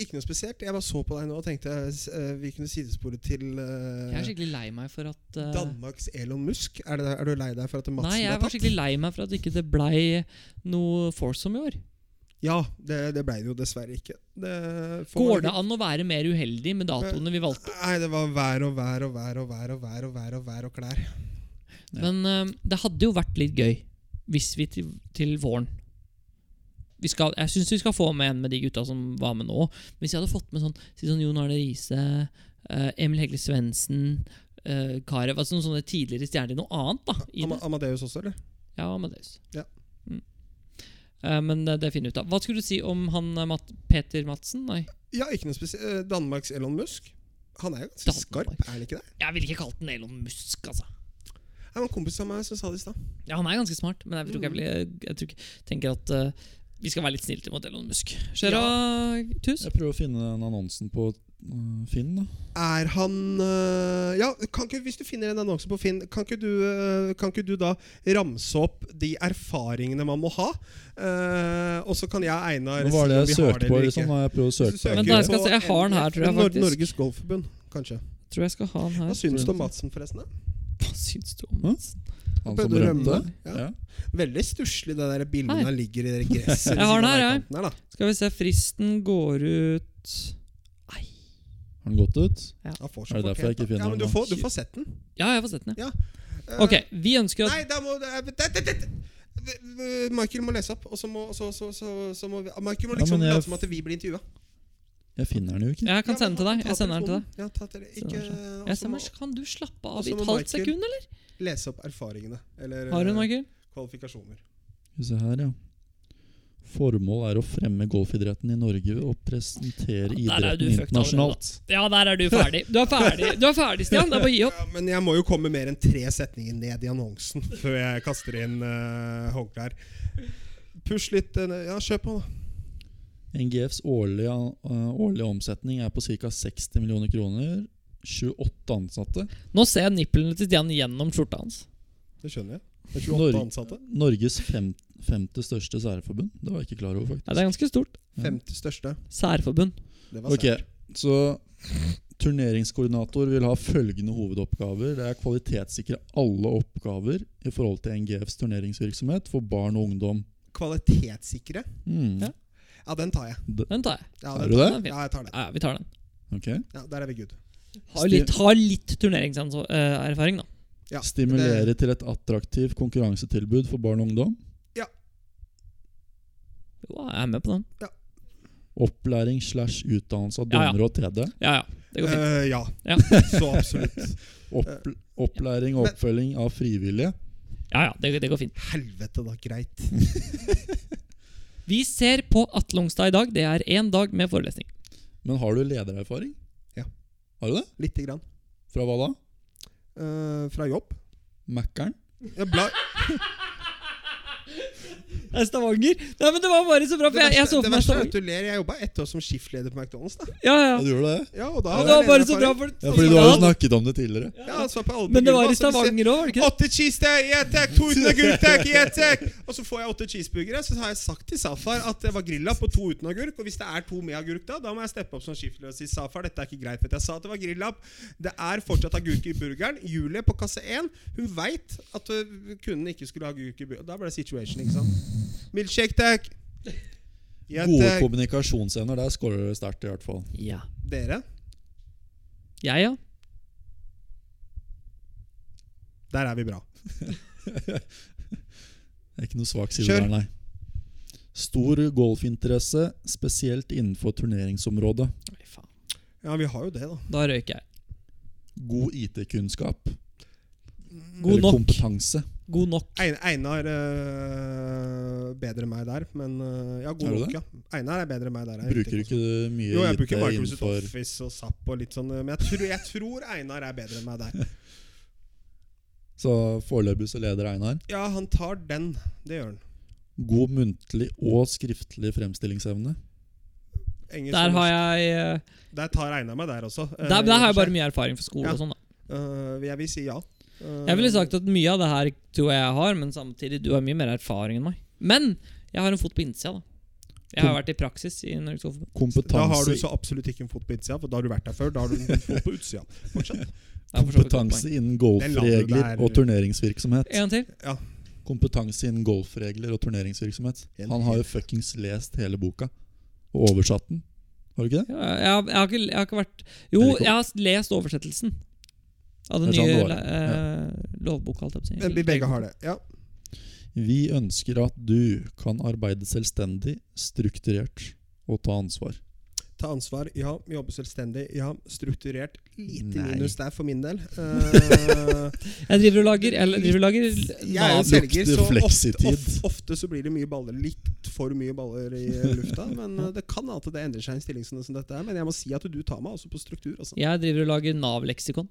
Ikke noe spesielt. Jeg bare så på deg nå og tenkte eh, vi kunne sidespore til eh, Jeg er skikkelig lei meg for at eh, Danmarks Elon Musk. Er, det, er du lei deg for at Madsen Nei, jeg ble var tatt? skikkelig lei meg for at ikke det blei noe foursome i år. Ja, det, det ble det jo dessverre ikke. Det får man Går ikke- det an å være mer uheldig med datoene vi valgte? Nei, det var vær og vær og vær og vær og vær og vær og vær og klær. Ja. Men eh, det hadde jo vært litt gøy hvis vi til, til våren vi skal, Jeg syns vi skal få med en med de gutta som var med nå. Hvis jeg hadde fått med sånn, si sånn Jon Arne Riise, eh, Emil Hegle Svendsen, uh, Karev altså Noen sånne tidligere stjerner. Noe annet, da. I Ama det. Amadeus også, eller? Ja, Amadeus. Ja. Mm. Eh, men det, det finner vi ut av. Hva skulle du si om han eh, Matt, Peter Madsen? Nei. Ja, ikke noe spesielt. Eh, Danmarks Elon Musk. Han er jo ganske Danmark. skarp, er han ikke det? Jeg ville ikke kalt den Elon Musk, altså. Det var en kompis av meg som sa det i stad. Ja, han er ganske smart, men jeg tror ikke jeg, vil, jeg tror ikke, tenker at eh, vi skal være litt snille til mot Elon Musk. Skjer det, Tus? Jeg prøver å finne den annonsen på øh, Finn. da Er han eh, Ja, kan ikke, hvis du finner en annonse på Finn, kan ikke, du, eh, kan ikke du da ramse opp de erfaringene man må ha? Eh, og så kan jeg og Einar Hva var det jeg si om vi har søkte det på? eller liksom, ikke. da jeg prøvde å Hvis du søke på søker Men da det. skal jeg se, jeg har den her, tror jeg, Nor- faktisk. Norges Golfforbund, kanskje. Tror jeg skal ha han Hva her. syns du om Madsen, forresten? da? Hva syns du om Madsen? Han Prøvde som å rømte? rømme. Ja. Ja. Veldig stusslig det der bildet Her. han ligger i det gresset. <laughs> Jeg har den her, jeg. jeg. Her, da. Skal vi se, fristen går ut Har han gått ut? Ja, får så Er det folk derfor jeg helt, ikke da. finner ja, men den du nå? får, du får sett den. Ja, jeg får sett den, ja. Eh, Ok, vi ønsker at Nei, da må eh, det, det, det, det, det. Michael må lese opp, og så må, så, så, så, så må vi Michael må Ja, liksom men jeg- late som at vi blir intervjua. Jeg finner den jo ikke. Jeg kan sende den til deg. Jeg sender den til deg. Ja, ta til deg. Sender Ikke, den til og Jeg så må sender, kan du slappe av Også i et må halvt Michael- sekund, eller? lese opp erfaringene. Eller Har du, eh, Michael? kvalifikasjoner. Skal vi se her, ja. Formål er å fremme golfidretten i Norge og presentere Ja, der er du idretten fucked internasjonalt. Ja, der er du ferdig. Du er ferdig, du er ferdig Stian. Det er bare å gi opp. Ja, men jeg må jo komme mer enn tre setninger ned i annonsen <laughs> før jeg kaster inn uh, håndklær. Push litt eh, Ja, kjør på, da. NGFs årlige, øh, årlige omsetning er på ca. 60 millioner kroner. 28 ansatte. Nå ser jeg nipplene til Stian gjennom skjorta hans. Det skjønner jeg. Det er 28 Norge- ansatte. Norges fem, femte største særforbund. Det var jeg ikke klar over, Ja, det er faktisk. ganske stort. Femte største. Særforbund. Det var Ok, sært. så turneringskoordinator vil ha følgende hovedoppgaver. Det er kvalitetssikre alle oppgaver i forhold til NGFs turneringsvirksomhet for barn og ungdom. Kvalitetssikre. Mm. Ja. Ja, den tar jeg. Den tar jeg. Ja, Er den du Den er det? tar jeg. fin. Ja, jeg tar den. Ja, vi tar den. Ok. Ja, der er vi good. Har litt, har litt turneringserfaring, da. Ja, Stimulere det- til et attraktivt konkurransetilbud for barn og ungdom. Jo, jeg er med på den. Opplæring slash utdannelse av Ja, ja. dommere og TD. Ja, ja. Det går fint. Eh, ja. Ja. <laughs> Så absolutt. Opp, opplæring og Men- oppfølging av frivillige. Ja, ja, det, det går fint. Helvete, da. Greit. Vi ser på Atle Ongstad i dag. Det er én dag med forelesning. Men har du ledererfaring? Ja. Har du det? Lite grann. Fra hva da? Eh, fra jobb. Mækkern? Jeg bla Det er Stavanger. Nei, men Det var bare så bra, for det jeg, jeg så for verste, det meg verste er at Stavanger. du ler. Jeg jobba ett år som skiftleder på McDonald's. da Ja, ja. Ja, du gjør det? Ja, og da Men det var bare så bra, for Ja, fordi du har jo snakket om det tidligere. Ja, så på alle Men det var i gulvet, og så sier- Stavanger òg, var det ikke det? Åtte cheese der, yeah, takk, 200 agurk, takk, yeah, takk. Og så får jeg åtte cheeseburgere. Så har jeg sagt til Safar at det var grilla på to uten agurk. Og hvis det er to med agurk, da da må jeg steppe opp som skiftløs og si Safar, dette er ikke greit. vet du. Jeg sa at det var grilla. Det er fortsatt agurk i burgeren. Julie på kasse 1, hun veit at ø, kunden ikke skulle ha agurk i burgeren. Da ble det situation, ikke sant. Milkshake, takk. Yeah, Gode takk. kommunikasjonsevner, der scorer du sterkt, i hvert fall. Ja. Dere, Jeg, ja. der er vi bra. Det er ikke noe svak side Kjør. der, nei. Stor golfinteresse, spesielt innenfor turneringsområdet. Oi, faen. Ja, vi har jo det, da. Da røyker jeg. God IT-kunnskap. God eller nok. kompetanse. God nok. Ein- Einar øh, bedre enn meg der, men øh, ja, Er god du nok, ja. Einar er bedre enn meg der. jeg er Bruker riktig ikke du mye Jo, jeg IT bruker Microsoft innenfor Office og SAP og litt sånn, øh, men jeg tror, jeg tror Einar er bedre enn meg der. Så foreløpig så leder Einar. Ja, han tar den. Det gjør han. God muntlig og skriftlig fremstillingsevne. Engelsk Der og har norsk. jeg eh, Der tar Einar meg der også. øh, Der, der har jeg i bare og mye erfaring fra skole Ja. og sånn, da. for seg. Øh, jeg vil si ja. Øh, Jeg ville sagt at mye av det her tror jeg jeg har, men samtidig du har mye mer erfaring enn meg. Men jeg har en fot på innsida, da. Jeg har vært i praksis i Norges Golfforbund. Da har du Kompetanse, så absolutt ikke en fot på innsida, for da har du vært der før. Da har du en fot på utsida. Fortsett. Det er for så vidt et godt kompetanse poeng. innen Den la du golfregler der. og turneringsvirksomhet. En gang til. Kompetanse innen golfregler og turneringsvirksomhet. En Han har jo fuckings lest hele boka og oversatt den. Har du ikke det? Ja, Jeg har, jeg har, ikke, jeg har ikke vært Jo, Eller ikke- jeg har lest oversettelsen av den Det er nye sånn det var, la- eh, lovboka. holdt jeg på å si. Men vi begge har det. Ja. Vi ønsker at du kan arbeide selvstendig, strukturert og ta ansvar. Ta ansvar, ja. Jobbe selvstendig, ja. Strukturert. Lite Nei. minus der for <laughs> min del. Eh, Jeg driver og lager, eller, driver og lager jeg er jo Nav- selger, lukter så ofte, fleksitid. of- ofte så blir det mye baller. Litt for mye baller <laughs> i lufta. Men eh, det kan at det endrer seg i en stilling som som dette er. Men jeg må si at du tar meg også på struktur. Altså. Jeg driver og lager Nav-leksikon.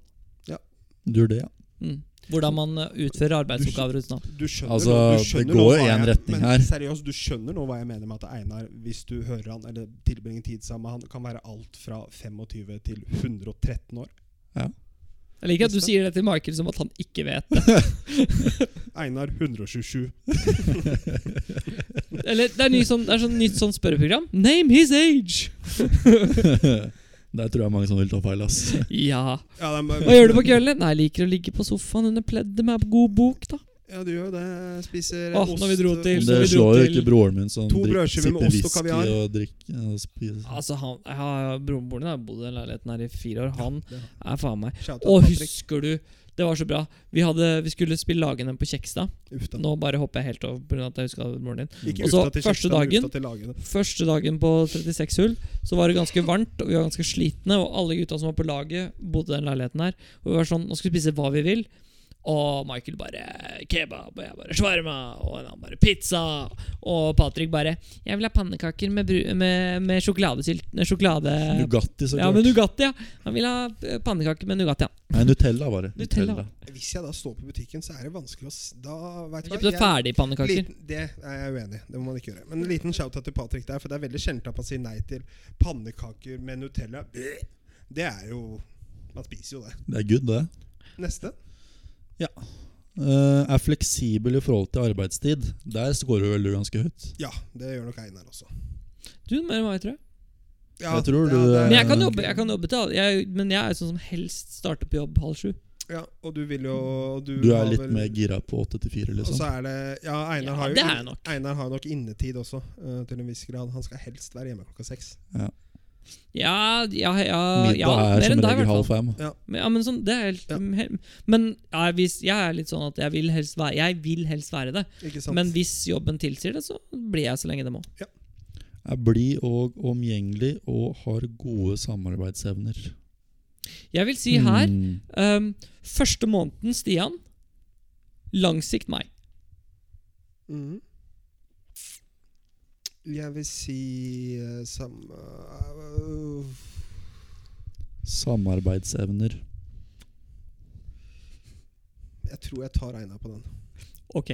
Du gjør det, ja. <laughs> Mm. Hvordan man eh, utfører arbeidsoppgaver hos Nav. Du skjønner, Altså, nå- du det skjønner går nå i hva en jeg- retning men her. Seriøst, du skjønner nå hva jeg mener med at Einar, hvis du hører han eller tilbringer tid sammen med han, kan være alt fra 25 til 113 år. Jeg liker at du sier det til Michael som at han ikke vet det. Einar 127. Eller Det er, ny, sånn, det er sånn nytt sånn spørreprogram. Name his age! Der tror jeg mange som vil ta feil, ass. Ja. Ja, det er- Hva gjør du på kvelden? Nei, jeg liker å ligge på sofaen under pleddet med en god bok, da. Ja, du gjør jo det. Jeg Spiser Åh, når vi dro eh, til- Det Så vi dro slår jo til ikke broren min som to drikker, brødskiver med sipper ost og whisky kaviar. og drikker og spiser. Altså, han, jeg har- Broren min har bodd i den leiligheten her i fire år. Han det er faen meg Shout out Og Patrick. husker du Det var så bra. Vi, hadde, vi skulle spille Lagene på Kjekstad. Uff da. Nå bare hopper jeg helt over pga. at jeg huska broren din. Ikke Og så ufta til første Kjekstad, men dagen- ufta til lagene. Første dagen på 36 hull Så var det ganske varmt, og vi var ganske slitne. Og alle gutta som var på laget, bodde i den leiligheten her. Og vi var sånn Nå skal vi spise hva vi vil. Og Michael bare kebab, og jeg bare shawarma, og en annen bare pizza. Og Patrick bare 'Jeg vil ha pannekaker med, bru- med, med sjokoladesylt med sjokolade Nugatti, så Ja, med klart. Nugatti, ja. Han vil ha eh, pannekaker med Nugatti, ja. Nei, Nutella var det. Nutella. Hvis jeg da står på butikken, så er det vanskelig å s- Da vet Jeg du Kjøpte hva, jeg- ferdig pannekaker. Liten, det er jeg uenig i. Det må man ikke gjøre. Men en liten shout-out til Patrick der, for det er veldig sjelden at man sier nei til pannekaker med Nutella. Det er jo Man spiser jo det. Det er good, det. Neste. Eh, er fleksibel i forhold til arbeidstid. Der scorer vel du ganske høyt. Ja, det gjør nok Einar også. Du, mer enn meg, tror jeg. Ja, Jeg tror ja, du- eh, det er- Men jeg kan jobbe, jeg kan jobbe til alle. Jeg, men jeg er sånn som helst starter på jobb halv sju. Ja, og du vil jo og Du har er litt vel- mer gira på 8 til 4, Og liksom. Altså, så er det Ja, Einar Ja, har jo det er inn- jeg nok. Einar har nok innetid også, eh, til en viss grad. Han skal helst være hjemme klokka seks. Ja, ja, ja, ja Middag er mer enn som deg, i regel hvert halv fall. fem. Men, ja, men sånn, det er helt, Ja. he- men ja, hvis, jeg er litt sånn at jeg vil helst være, jeg vil helst være det. Ikke sant? Men hvis jobben tilsier det, så blir jeg så lenge det må. Er blid og omgjengelig og har gode samarbeidsevner. Jeg vil si her Mm. um, Første måneden Stian, langsikt meg. Mhm. Jeg vil si eh, samme øh, Samarbeidsevner. Jeg tror jeg tar Einar på den. Ok.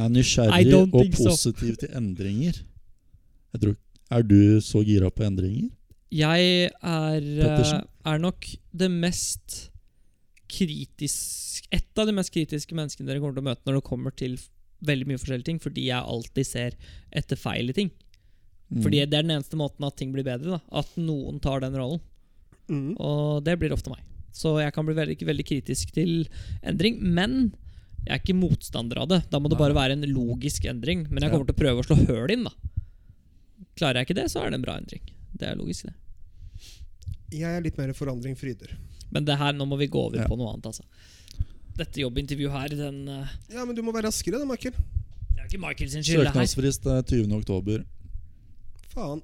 Er I nysgjerrig don't og think so. positiv til endringer. Jeg tror, er du så gira på endringer? Jeg er, eh, Pettersen? er nok det mest kritisk Et av de mest kritiske menneskene dere kommer til å møte når det kommer til f- veldig mye forskjellige ting, fordi jeg alltid ser etter feil i ting. Mm. Fordi det er den eneste måten at ting blir bedre. da At noen tar den rollen. Mhm. Og det blir ofte meg. Så jeg kan bli veldig, veldig kritisk til endring. Men jeg er ikke motstander av det. Da må det Nei. bare være en logisk endring. Men jeg Ja. kommer til å prøve å slå høl inn, da. Klarer jeg ikke det, så er det en bra endring. Det er logisk, det. Jeg er litt mer forandring fryder. Men det her, nå må vi gå over Ja. på noe annet, altså. Dette jobbintervjuet her, den eh, Ja, men du må være raskere da, Michael. Jeg er ikke Michael sin skyld, det her. Søknadsfrist er 20. oktober. Faen.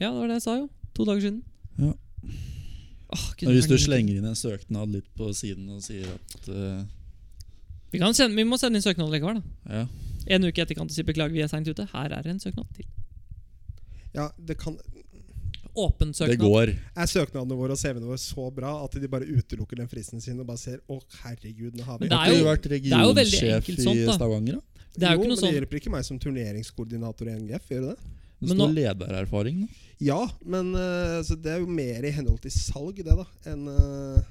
Ja, det var det jeg sa, jo. To dager siden. Ja. Åh, kunne Men hvis du vært- slenger inn en søknad litt på siden og sier at eh, vi, kan sende, vi må sende inn søknad likevel. da ja, En uke i etterkant og si beklager, vi er seint ute. Her er en søknad til. Ja, det kan Åpen søknad. det går. Er søknadene våre og CV-ene våre så bra at de bare utelukker den fristen sin og bare ser Å, herregud, nå har vi Men det Har er ikke jo- du vært er jo veldig regionsjef enkelt i sånt, da. Stavanger, da? Det er jo ikke noe men det sånn hjelper ikke meg som turneringskoordinator i NGF, gjør det det? Det Men står nå- ledererfaring, da. Ja, men eh, så det er jo mer i henhold til salg, det, da, enn eh,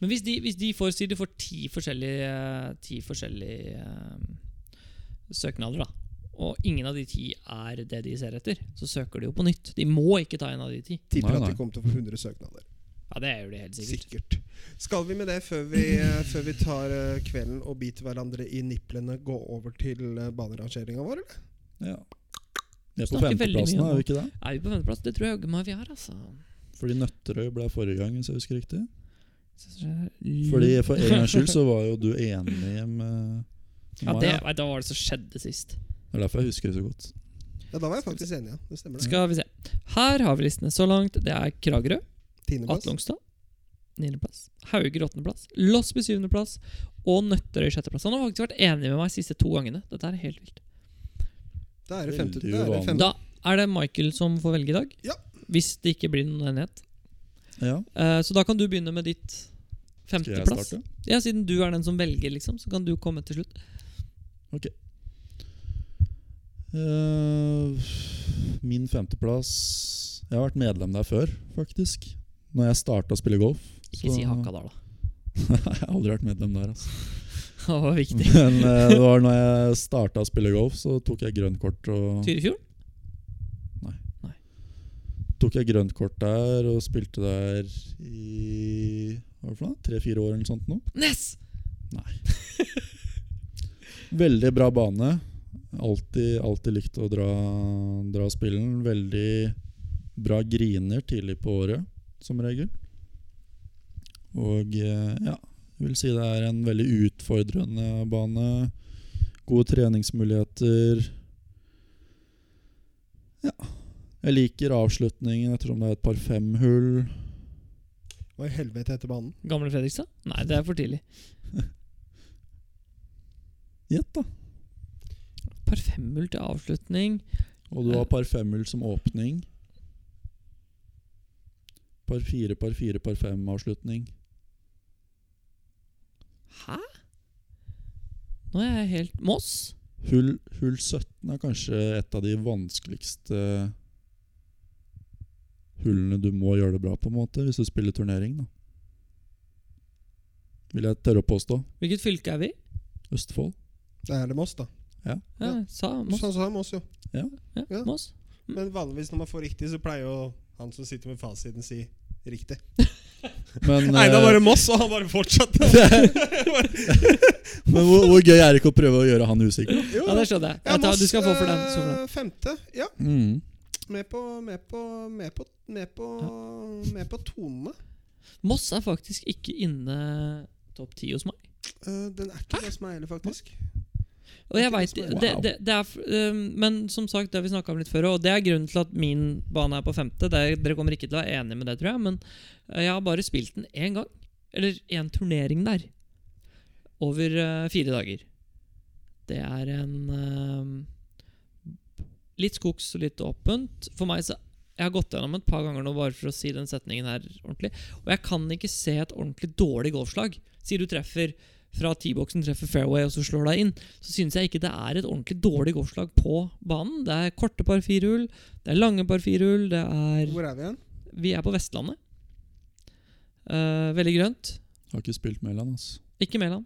Men hvis de, hvis de får si de får ti forskjellige, eh, ti forskjellige eh, søknader, da og ingen av de ti er det de ser etter, så søker de jo på nytt. De må ikke ta en av de ti. Tipper Nei, at nei. de kommer til å få 100 søknader. Ja, det gjør de helt sikkert. Sikkert. Skal vi med det før vi, eh, før vi tar eh, kvelden og biter hverandre i niplene, gå over til eh, banerangeringa vår, eller? Ja. Vi er på Snakker veldig mye femteplassen, om er vi ikke det? Er vi på femteplass? Det tror jeg jaggu meg vi er, altså. Fordi Nøtterøy ble forrige gang, hvis jeg husker riktig. Fordi Fordi For en gangs skyld så var jo du <laughs> enig med ja, meg, det, ja. nei, Da var det som skjedde sist. Det er derfor jeg husker det så godt. Ja, da var jeg faktisk enig, ja. Det stemmer. det Skal vi se. Her har vi listene så langt. Det er Kragerø. Tiendeplass. Atle Ongstad. Niendeplass. Hauger åttendeplass. Losby syvendeplass. Og Nøtterøy sjetteplass. Han har faktisk vært enig med meg de siste to gangene. Dette er helt vilt. Da er det femte. Veldig Da er det uvanlig. femte. Da er det Michael som får velge i dag. Ja. Hvis det ikke blir noen enighet. Ja, Eh, så da kan du begynne med ditt skal jeg femteplass. starte? Ja, siden du er den som velger, liksom, så kan du komme til slutt. Eh, min femteplass Jeg har vært medlem der før, faktisk. Når jeg starta å spille golf. <laughs> Ikke så- si Hakadal, da. <laughs> jeg har aldri vært medlem der, altså. Det var viktig. Men eh, det var når jeg starta å spille golf, så tok jeg grønt kort. Og Tyrifjorden? tok jeg grønt kort der og spilte der i hva var det for noe? tre-fire år eller noe sånt. Nå. Ness! Veldig bra bane. Alltid, alltid likt å dra, dra spillen. Veldig bra griner tidlig på året, som regel. Og eh, ja, jeg vil si det er en veldig utfordrende bane. Gode treningsmuligheter. Ja. Jeg liker avslutningen ettersom det er et par fem-hull. Hva i helvete heter banen? Gamle Fredrikstad? Nei, det er for tidlig. Gjett, da. Par femhull til avslutning. Og du har par femhull som åpning. Par fire, par fire, par fem-avslutning. Hæ? Nå er jeg helt Moss? Hull, hull 17 er kanskje et av de vanskeligste eh, hullene du må gjøre det bra på, en måte, hvis du spiller turnering. da. Vil jeg tørre å påstå. Hvilket fylke er vi? i? Østfold. Da er det Moss, da. Ja, Ja. sa Moss. Mm. Sånn sa Moss, jo. Ja, Ja. Moss. Men vanligvis når man får riktig, så pleier jo han som sitter med fasiten, si riktig. Men, Nei, da eh, var <laughs> det Moss, og han bare fortsatte. <laughs> <laughs> men hvor, hvor gøy er det ikke å prøve å gjøre han usikker? Jo, Ja, det skjønner jeg. Ja, jeg tar, du Moss, skal få for den. eh, så for den. Femte. Ja, Mm. med på Med på, med på, med på, med på tonene. Moss er faktisk ikke inne topp ti hos meg. Eh, den er ikke det som er heller, faktisk. Og jeg vet, Wow. det, det, det er, f- øhm, men som sagt, det har vi snakka om litt før, og det er grunnen til at min bane er på femte. Det er, dere kommer ikke til å være enige med det, tror jeg, men øh, jeg har bare spilt den én gang. Eller én turnering der. Over øh, fire dager. Det er en øhm, Litt skogs og litt åpent. For meg så Jeg har gått gjennom et par ganger nå bare for å si den setningen her ordentlig. Og jeg kan ikke se et ordentlig dårlig golfslag. Sier du treffer fra T-boksen, treffer fairway og så slår deg inn, så syns jeg ikke det er et ordentlig dårlig golfslag på banen. Det er korte par firehull, det er lange par firehull, det er Hvor er vi igjen? Vi er på Vestlandet. Eh, veldig grønt. Har ikke spilt med han, altså. Ikke Mæland.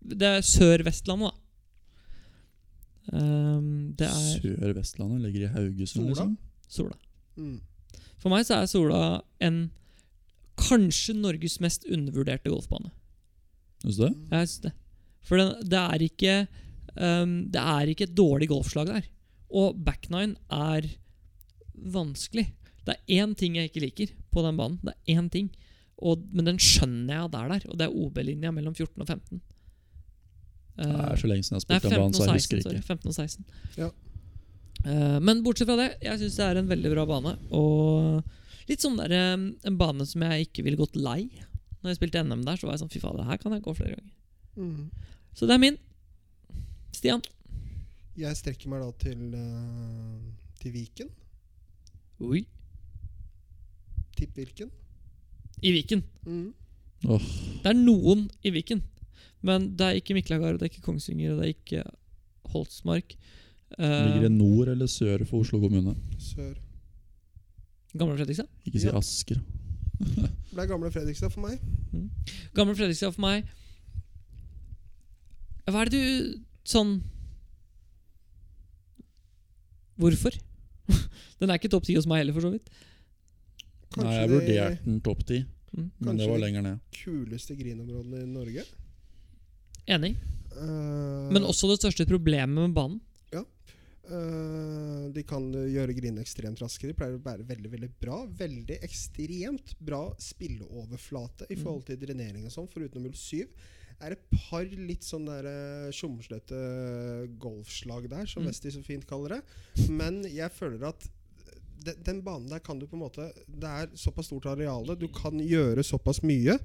Det er Sør-Vestlandet, da. Eh, det er Sør-Vestlandet ligger i Haugesund, Sola? liksom. sola. Mm. For meg så er Sola en kanskje Norges mest undervurderte golfbane. Syns du det? Jeg synes det. For den, det er ikke ehm, Det er ikke et dårlig golfslag der. Og backnine er vanskelig. Det er én ting jeg ikke liker på den banen. Det er én ting. Og, men den skjønner jeg at er der, og det er OB-linja mellom 14 og 15. Eh, Det er så lenge siden jeg Nei, har spilt 15 den banen, og så jeg 16. husker Sorry, ikke. 15 og 16. Ja. Eh, men bortsett fra det, jeg syns det er en veldig bra bane. Og litt sånn der, eh, en bane som jeg ikke ville gått lei. Når jeg spilte NM der, så var jeg sånn fy fader, her kan jeg gå flere ganger. Mm. Så det er min. Stian. Jeg strekker meg da til, eh, til Viken. Oi. Tipp Viken. I Viken. Mm. Det er noen i Viken. Men det er ikke Miklagard, og det er ikke Kongsvinger, og det er ikke Holsmark. Uh, Ligger i nord eller sør for Oslo kommune. Sør. Gamle Fredrikstad. Ikke si Ja. Asker. Ble gamle Fredrikstad for meg. Gamle Fredrikstad for meg Hva er det du sånn Hvorfor? <laughs> Den er ikke topp ti hos meg heller, for så vidt. Kanskje Nei, jeg de vurderte den topp ti, Mm. men Kanskje det var de- lenger ned. kuleste grinområdene i Norge. Enig. Eh, Men også det største problemet med banen. eh, de kan gjøre grinene ekstremt raske. De pleier å være veldig veldig bra. Veldig ekstremt bra spilleoverflate i forhold til drenering og sånn, foruten 07. Det er et par litt sånn der, eh, tjomslete golfslag der, som Mm. Westie så fint kaller det. Men jeg føler at eh, de- den banen der kan du på en måte Det er såpass stort areale, du kan gjøre såpass mye.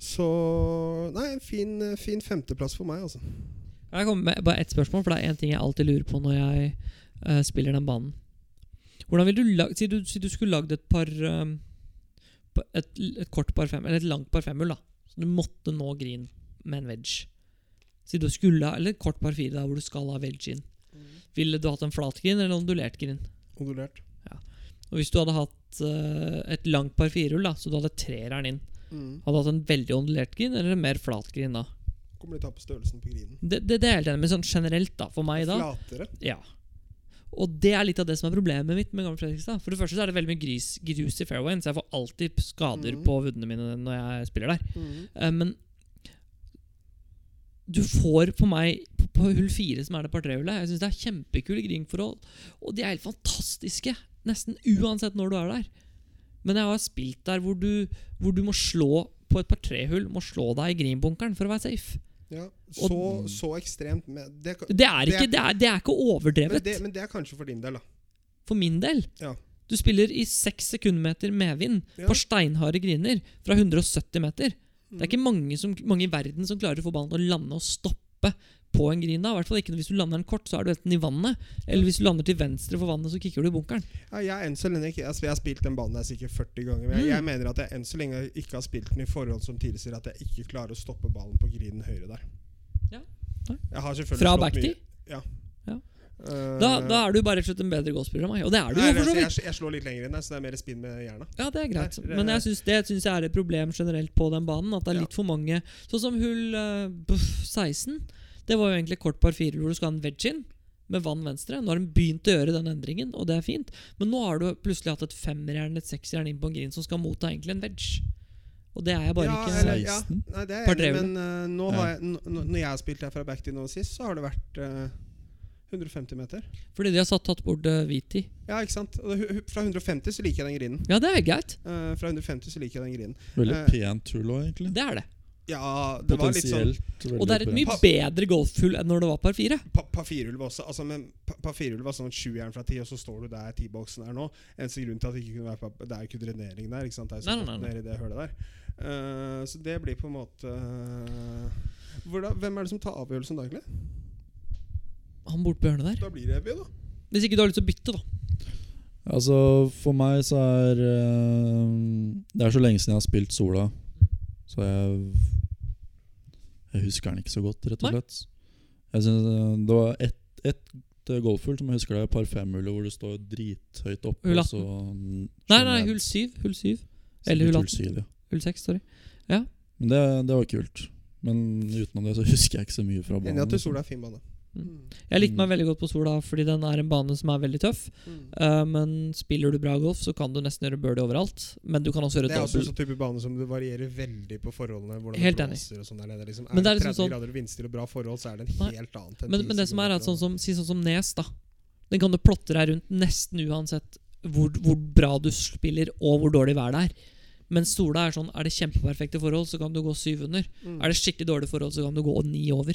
Så Nei, en fin, eh, fin femteplass for meg, altså. Kan Jeg komme med bare ett spørsmål, for det er én ting jeg alltid lurer på når jeg eh, spiller den banen. Hvordan vil du lag- Si du, si du skulle lagd et par eh, pa- et, et kort par fem, eller et langt par femhull, da. Så du måtte nå green med en wedge. Si du skulle ha, Eller et kort par fire, da, hvor du skal ha wedge inn. Ville du hatt en flat green eller en ondulert green? Ondulert. Og Hvis du hadde hatt eh, et langt par firehull, da, så du hadde treeren inn, Mm. hadde du hatt en veldig ondulert green eller en mer flat green da? Kommer litt an på størrelsen på grinen. Det, det, det er jeg helt enig med sånn generelt, da, for meg da. Flatere. Ja. Og det er litt av det som er problemet mitt med Gamle Fredrikstad. For det første så er det veldig mye gris, grus i fairwayen, så jeg får alltid skader Mhm. på vuddene mine når jeg spiller der. Eh, Men du får på meg på- på hull fire, som er det par trehullet Jeg syns det er kjempekule greenforhold. Og de er helt fantastiske, nesten uansett når du er der. Men jeg har spilt der hvor du, hvor du må slå på et par trehull, må slå deg i greenbunkeren for å være safe. Ja. Og- Så, så ekstremt med det, kan- Det er Det er- ikke, det er, det er ikke men, overdrevet. det, men det er kanskje for din del, da. For min del. Ja. Du spiller i 6 sekundmeter medvind Ja. på steinharde griner fra 170 meter. Det Mhm. er ikke mange, som, mange i verden som klarer å få ballen til å lande og stoppe på en grin. da. I hvert fall ikke hvis du lander den kort, så er du enten i vannet. Eller hvis du lander til venstre for vannet, så kicker du i bunkeren. Ja, jeg, er enn så lenge, ikke- altså, jeg har spilt den banen her sikkert 40 ganger. Men jeg, Mm. jeg mener at jeg enn så lenge ikke har spilt den i forhold som tilsier at jeg ikke klarer å stoppe ballen på grinen høyre der. Ja. Nei. Jeg har selvfølgelig Fra slått backtid. mye- Ja. Ja. Eh, Da, da er du bare rett og slett en bedre golfspiller enn meg. Og det er du nei, jo, for så altså, vidt. jeg, jeg slår litt lenger inn der, så det er mer spinn med jerna. Ja, det er greit. Nei, det- Men jeg synes det synes jeg er et problem generelt på den banen. At det er Ja. litt for mange. Sånn som hull eh, buff, 16. Det var jo egentlig kort par fire hvor du skal ha en wedge inn med vann venstre. Nå har de begynt å gjøre den endringen, og det er fint. Men nå har du plutselig hatt et femmerjern, et seksjern inn på en grin som skal motta egentlig en wedge. Og det er jeg bare ja, ikke eller, ja. 16? Nei, det er Par jeg enig, i, trehjulet. men eh, nå Ja. har jeg, n- n- når jeg har spilt her fra backtid nå sist, så har det vært eh, 150 meter. Fordi de har satt, tatt bort uh, hvit i. Ja, ikke sant? Og det- hu- hu- Fra 150 så liker jeg den grinen. Ja, det er greit. Eh, fra 150 så liker jeg den grinen. Veldig Eh, pent hull òg, egentlig. Det er det. Ja, det var litt sånn Potensielt veldig Og det er et pent. mye bedre golfhull enn når det var par fire. Pa- Pafirulv også. Altså, men pa- Pafirulv var sånn sjujern fra ti, og så står du der T-boksen er nå. Eneste grunn til at det ikke kunne være pa- Det er jo ikke drenering der. ikke sant? Det er jo Nei, så nei, godt nei, nede i det hølet der. Eh, så det blir på en måte eh, Hvordan, Hvem er det som tar avgjørelsen daglig? Han borte på hjørnet der. Da blir det Evy, da. Hvis ikke du har lyst til å bytte, da. Altså, for meg så er eh, Det er så lenge siden jeg har spilt Sola, så jeg Jeg husker den ikke så godt, rett og Nei. slett. Jeg synes, eh, det var ett et eh, golfhull som jeg husker det er par femhullet hvor du står drithøyt oppe. Hull og så Nei, nei, hull syv. Hull syv. eller hull 18. syv, ja. Hull seks, sorry. Men det, det var kult. Men utenom det så husker jeg ikke så mye fra banen. Enig i at liksom. sola er fin bane. Mm. Jeg likte meg veldig godt på Sola fordi den er en bane som er veldig tøff. Mm. Eh, men spiller du bra golf, så kan du nesten gjøre birdie overalt. Men du kan også gjøre Det er også en dobbelt. sånn type bane som det varierer veldig på forholdene. Hvordan Helt det enig. blåser og sånn der nede. Liksom. Er Men det det er 30 liksom sånn- grader og vindstille og bra forhold, så er det en Nei. helt annet enn Men, 10 men det som er, er at kilometer sånn og- som, si sånn som Nes, da. Den kan du plotte deg rundt nesten uansett hvor, hvor bra du spiller og hvor dårlig været er. Mens Sola er sånn, er det kjempeperfekte forhold, så kan du gå syv under. Mm. Er det skikkelig dårlige forhold, så kan du gå ni over.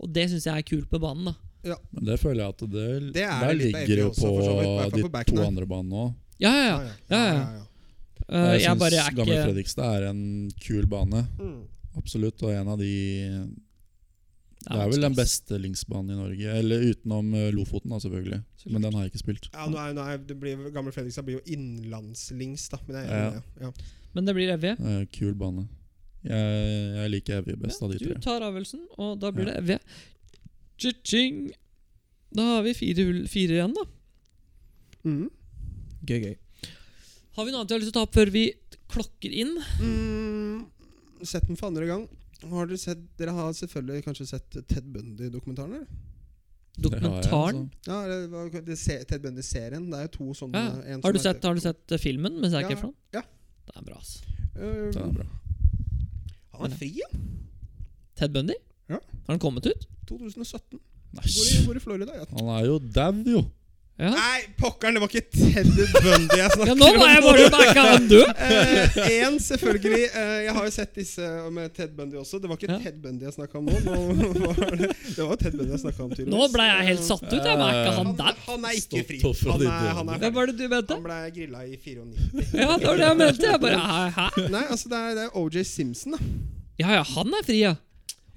Og det syns jeg er kult med banen. da Men det føler jeg at det, Det er Der litt av ligger jo FA også, på for så vidt, i hvert fall de på backen to der. andre banene òg. Ja, ja, ja. ja, ja. Uh, Jeg, Eh, jeg, synes bare er Gamle ikke Fredrikstad er en kul bane. Mm. Absolutt. Og en av de Det er vel den beste linksbanen i Norge. Eller utenom eh, Lofoten, da, selvfølgelig. Så Men den har jeg ikke spilt. Ja, nå er, nå er, det blir, Gamle Fredrikstad blir jo innlandslings, da. Men jeg er Ja. enig. Ja. Ja. Men det blir EV. Eh, Kul bane. Jeg, jeg liker Evy best av de Du tre. tar avgjørelsen, og da blir det EV. Tjing. Da har vi fire, hull, fire igjen, da. Mm. Gøy, gøy. Har vi noe annet vi har lyst til å ta opp før vi klokker inn? Mm. Sett den for andre gang. Har dere, sett, dere har selvfølgelig kanskje sett Ted Bundy-dokumentaren? eller? Det har jeg, Dokumentaren? altså. Ja, det var, det se, Ted Bundy-serien. Det er jo to sånne. Ja. en Har, du som sett, har du sett eh, filmen med Zac Ja, Efron? ja. Det er bra, ass. heter, Den øh, er bra. Han er fri, ja. Ted Bundy? Ja. Har den kommet ut? 2017. Bor i, Nei, bor i Florida. Ja. han er jo dau, jo! Ja. Nei, pokkeren! Det var ikke Ted Bundy jeg ja snakket nå var jeg bare backa han død! Én, Eh, selvfølgelig. Eh, jeg har jo sett disse eh, med Ted Bundy også. Det var ikke Ja. Ted Bundy jeg snakka om nå. nå var det, det var jo Ted Bundy jeg snakka om. tydeligvis. Nå ble jeg helt satt ut. Jeg merka han Han, der. han er ikke fri. Stopp opp fra Han de er, han døde. er Hvem ferdig. var det du mente? Han ble grilla i 94. Ja, det var det jeg mente. Jeg bare, hæ, hæ? Nei, altså det er, det er OJ Simpson, da. Ja, ja, han er fri, ja.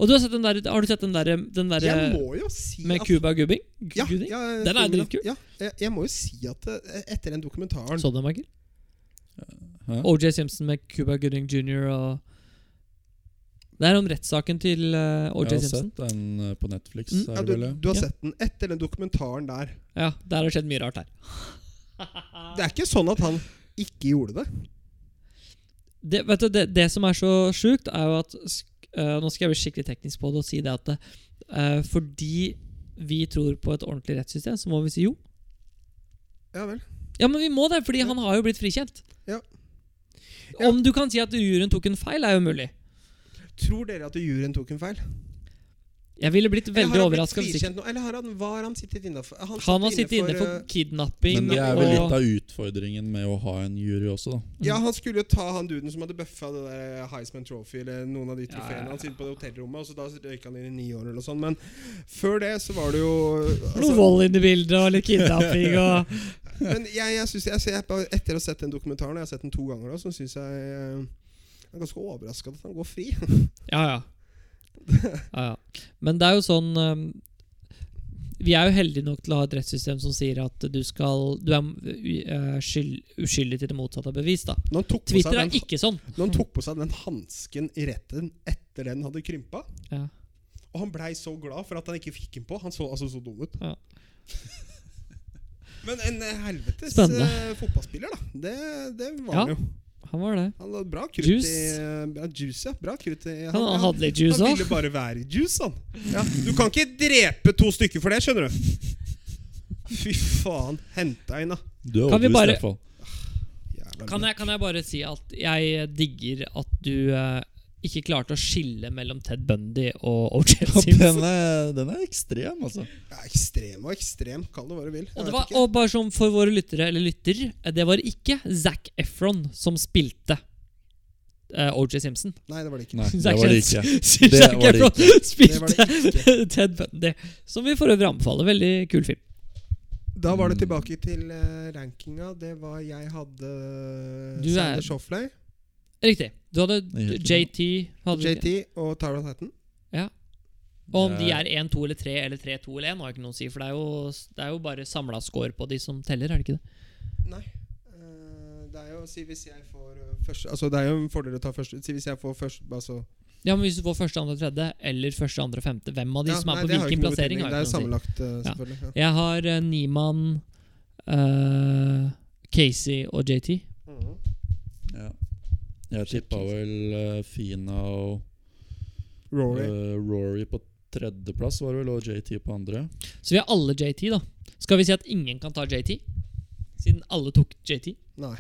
Og du har, sett den der, har du sett den derre den der, eh, Jeg må jo si med at Cuba-gubbing? ja, ja, Den er filmen, da. dritkul. Ja, jeg, jeg må jo si at eh, etter den dokumentaren Så du den, Sånn, Michael? Hæ? OJ Simpson med Cuba Gooding jr. og Det er om rettssaken til eh, OJ Jeg har Simpson. sett den eh, på Netflix. Mm, er ja, det du, vel, ja? du har Ja. sett den etter den dokumentaren der. Ja, Der har det skjedd mye rart her. Ah. Det er ikke sånn at han ikke gjorde det. Det, vet du, det, det som er så sjukt, er jo at sk- eh, Nå skal jeg bli skikkelig teknisk på det og si det at eh, fordi vi tror på et ordentlig rettssystem, så må vi si jo. Ja vel. Ja, men vi må det, fordi han har jo blitt frikjent. Ja. Om du kan si at juryen tok en feil, er jo mulig. Tror dere at juryen tok en feil? Jeg ville blitt Eller har veldig han blitt overraska hvis ikke frikjent eh, nå? Eller har han, var han sittet innafor? Han har sittet inne for kidnapping Men det er vel og litt av utfordringen med å ha en jury også, da. eh, Ja, han skulle jo ta han duden som hadde bøffa det der eh, Heisman Trophy eller noen av de Ja, trofeene. ja, ja. Han sitter på det hotellrommet, og så da røyka han inn i ni år eller noe sånt. Men før det så var det jo noe altså, vold inn i bildet og litt <laughs> kidnapping og Men jeg, jeg synes, jeg, jeg, bare- etter å ha sett den dokumentaren, og jeg har sett den to ganger, da, så syns jeg eh, jeg er ganske overraska at han går fri. <laughs> Ja, ja. ja, ja. Men det er jo sånn um, Vi er jo heldige nok til å ha et rettssystem som sier at du skal Du er uh, skyld, uskyldig til det motsatte er bevist, da. Når han tok på seg Twitter den, er ikke sånn. når han tok på seg den hansken i retten etter den hadde krympa, Ja. og han blei så glad for at han ikke fikk den på Han så altså så dum ut. Ja. <laughs> Men en eh, helvetes Spennende. eh, fotballspiller, da. Det, det var Ja. han jo. Han var det. Han hadde bra krutt Juice. i ja, Juice, ja. Bra krutt i Han, hadde litt juice han òg. ville bare være i juice, han. Ja, du kan ikke drepe to stykker for det, skjønner du. Fy faen. Henta inn, da. Du er Kan vi overbevist, bare- i hvert <laughs> fall. Jævla Kan jeg, kan jeg bare si at jeg digger at du eh, ikke klarte å skille mellom Ted Bundy og O.J. Simpson. Den er, den er ekstrem, altså. Ja, ekstrem og ekstrem. Kall det hva du vil. Jeg Og, det vet var, ikke. og bare som for våre lyttere, eller lytter, eh, det var ikke Zac Efron som spilte eh, O.J. Simpson. <laughs> Nei, det var det ikke. Nei, det Zac var det Efron- ikke. Zac Det var det Efron Det var <laughs> spilte det ikke. Ted Bundy. Som vi for øvrig anbefaler. Veldig kul film. Da var det tilbake til eh, rankinga. Det var jeg hadde Du er- Sander Shoffley, Riktig. Du hadde Helt JT hadde du ikke. JT og Tyron Hatton. Og om de Ja. er 1-2 eller 3 eller 3-2 eller 1, har jeg ikke noe å si. For det er jo, det er jo bare samla score på de som teller, er det ikke det? Nei. eh, det er jo si hvis jeg får eh, først Altså det er jo en fordel å ta først Si hvis jeg får først altså, Ja, men Hvis du får første, andre, tredje eller første, andre, femte, hvem av de Ja, som er nei, på det har jo hvilken ikke noe plassering, betydning. har jeg Det er ikke noe å si. sammenlagt, eh, Ja. selvfølgelig. Ja. Jeg har uh, Niemann, eh, Casey og JT. Mhm. Ja. Jeg tippa vel eh, Fina og Rory. eh, Rory på tredjeplass, var det vel, og JT på andre. Så vi har alle JT, da. Skal vi si at ingen kan ta JT? Siden alle tok JT? Nei.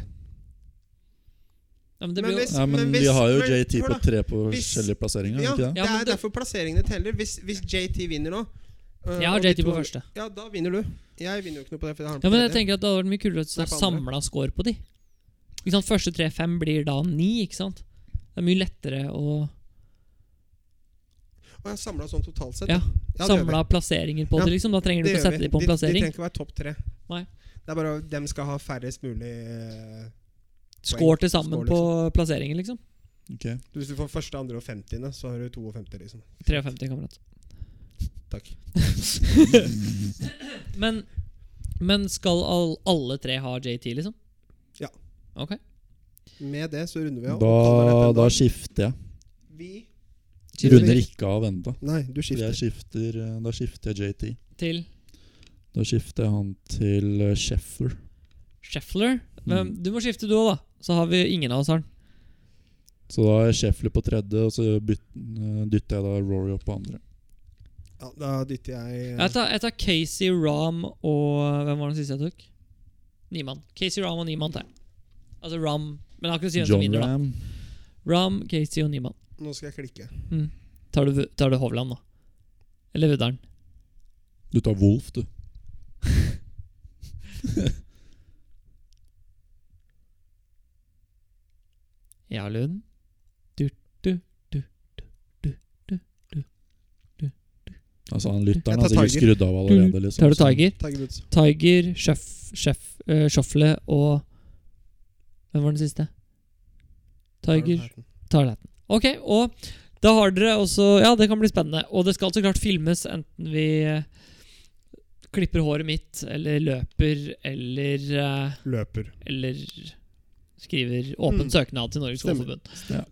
Ja, men det Men blir jo hvis- Nei, men, hvis- vi har jo men JT hør på da. tre på Hvis- forskjellige plasseringer. Ja, er det ikke det? det Ja, men er det- derfor plasseringene teller. Hvis, hvis JT vinner nå eh, Jeg har og de JT to på andre- første. Ja, da vinner du. Jeg vinner jo ikke noe på det. For jeg har den Ja, på men jeg tredje. tenker at Det hadde vært mye kulere hvis Nei, det på andre. samla score på de. Ikke sant? Første tre-fem blir da ni, ikke sant? Det er mye lettere å Og jeg samla sånn totalt sett. Ja, Ja, det gjør vi. Samla plasseringer på Ja, det, liksom. Da trenger du Det ikke gjør sette vi. dem på en de, de plassering. trenger ikke være topp tre. Nei. Det er bare dem skal ha færrest mulig eh, Skår til sammen Skår, på plasseringen, liksom. Ok. Hvis du får første, andre og femtiende, så har du 52, liksom. 53, kamerat. Takk. <laughs> Men, men skal all, alle tre ha JT, liksom? Ja. Ok. Med det så runder vi av. og kaller dette Da, en da dag. skifter jeg. Vi Runder ikke av ennå. Nei, du skifter. Jeg skifter, eh, da skifter jeg JT. Til Da skifter jeg han til eh, Sheffer. Scheffler. Men Mm. Du må skifte du òg, da. Så har vi ingen av oss har den. Så da er Sheffler på tredje, og så byt, eh, dytter jeg da Rory opp på andre. Ja, da dytter jeg eh, Jeg tar, jeg tar Casey Ram og Hvem var den siste jeg tok? Niemann. Casey Ram og Niemann tar jeg. Altså Ram Men jeg har ikke noe å si hvem som John vinner, da. Ram. Ram, Casey og Niemann. Nå skal jeg klikke. Tar du, tar du Hovland, da? Eller Vudderen? Du tar Wolf, du. Ja, Lund. Du, du, du, du, du, du, du, du, du. Altså han Jeg Lytteren tar har sikkert Tiger. skrudd av allerede. Liksom, Tar du så- Tiger? Tiger Woods. Tiger, Shuff, Shuff, eh, Shuffle og Hvem var den siste? Tiger Arm Hatton. Tarlaten. Ok, og da har dere også Ja, det kan bli spennende. Og det skal så klart filmes, enten vi eh, klipper håret mitt, eller løper, eller eh, Løper. Eller skriver åpen Mm. søknad til Norges Stemmer. Golfforbund.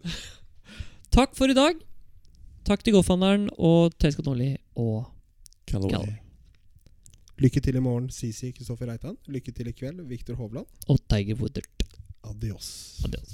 <laughs> Takk for i dag. Takk til golfhandleren og T. Scott Nordli og Callaway. Callaway. Lykke til i morgen, Sisi Kristoffer Reitan. Lykke til i kveld, Viktor Hovland. og Tiger Woodard. Adios. Adios.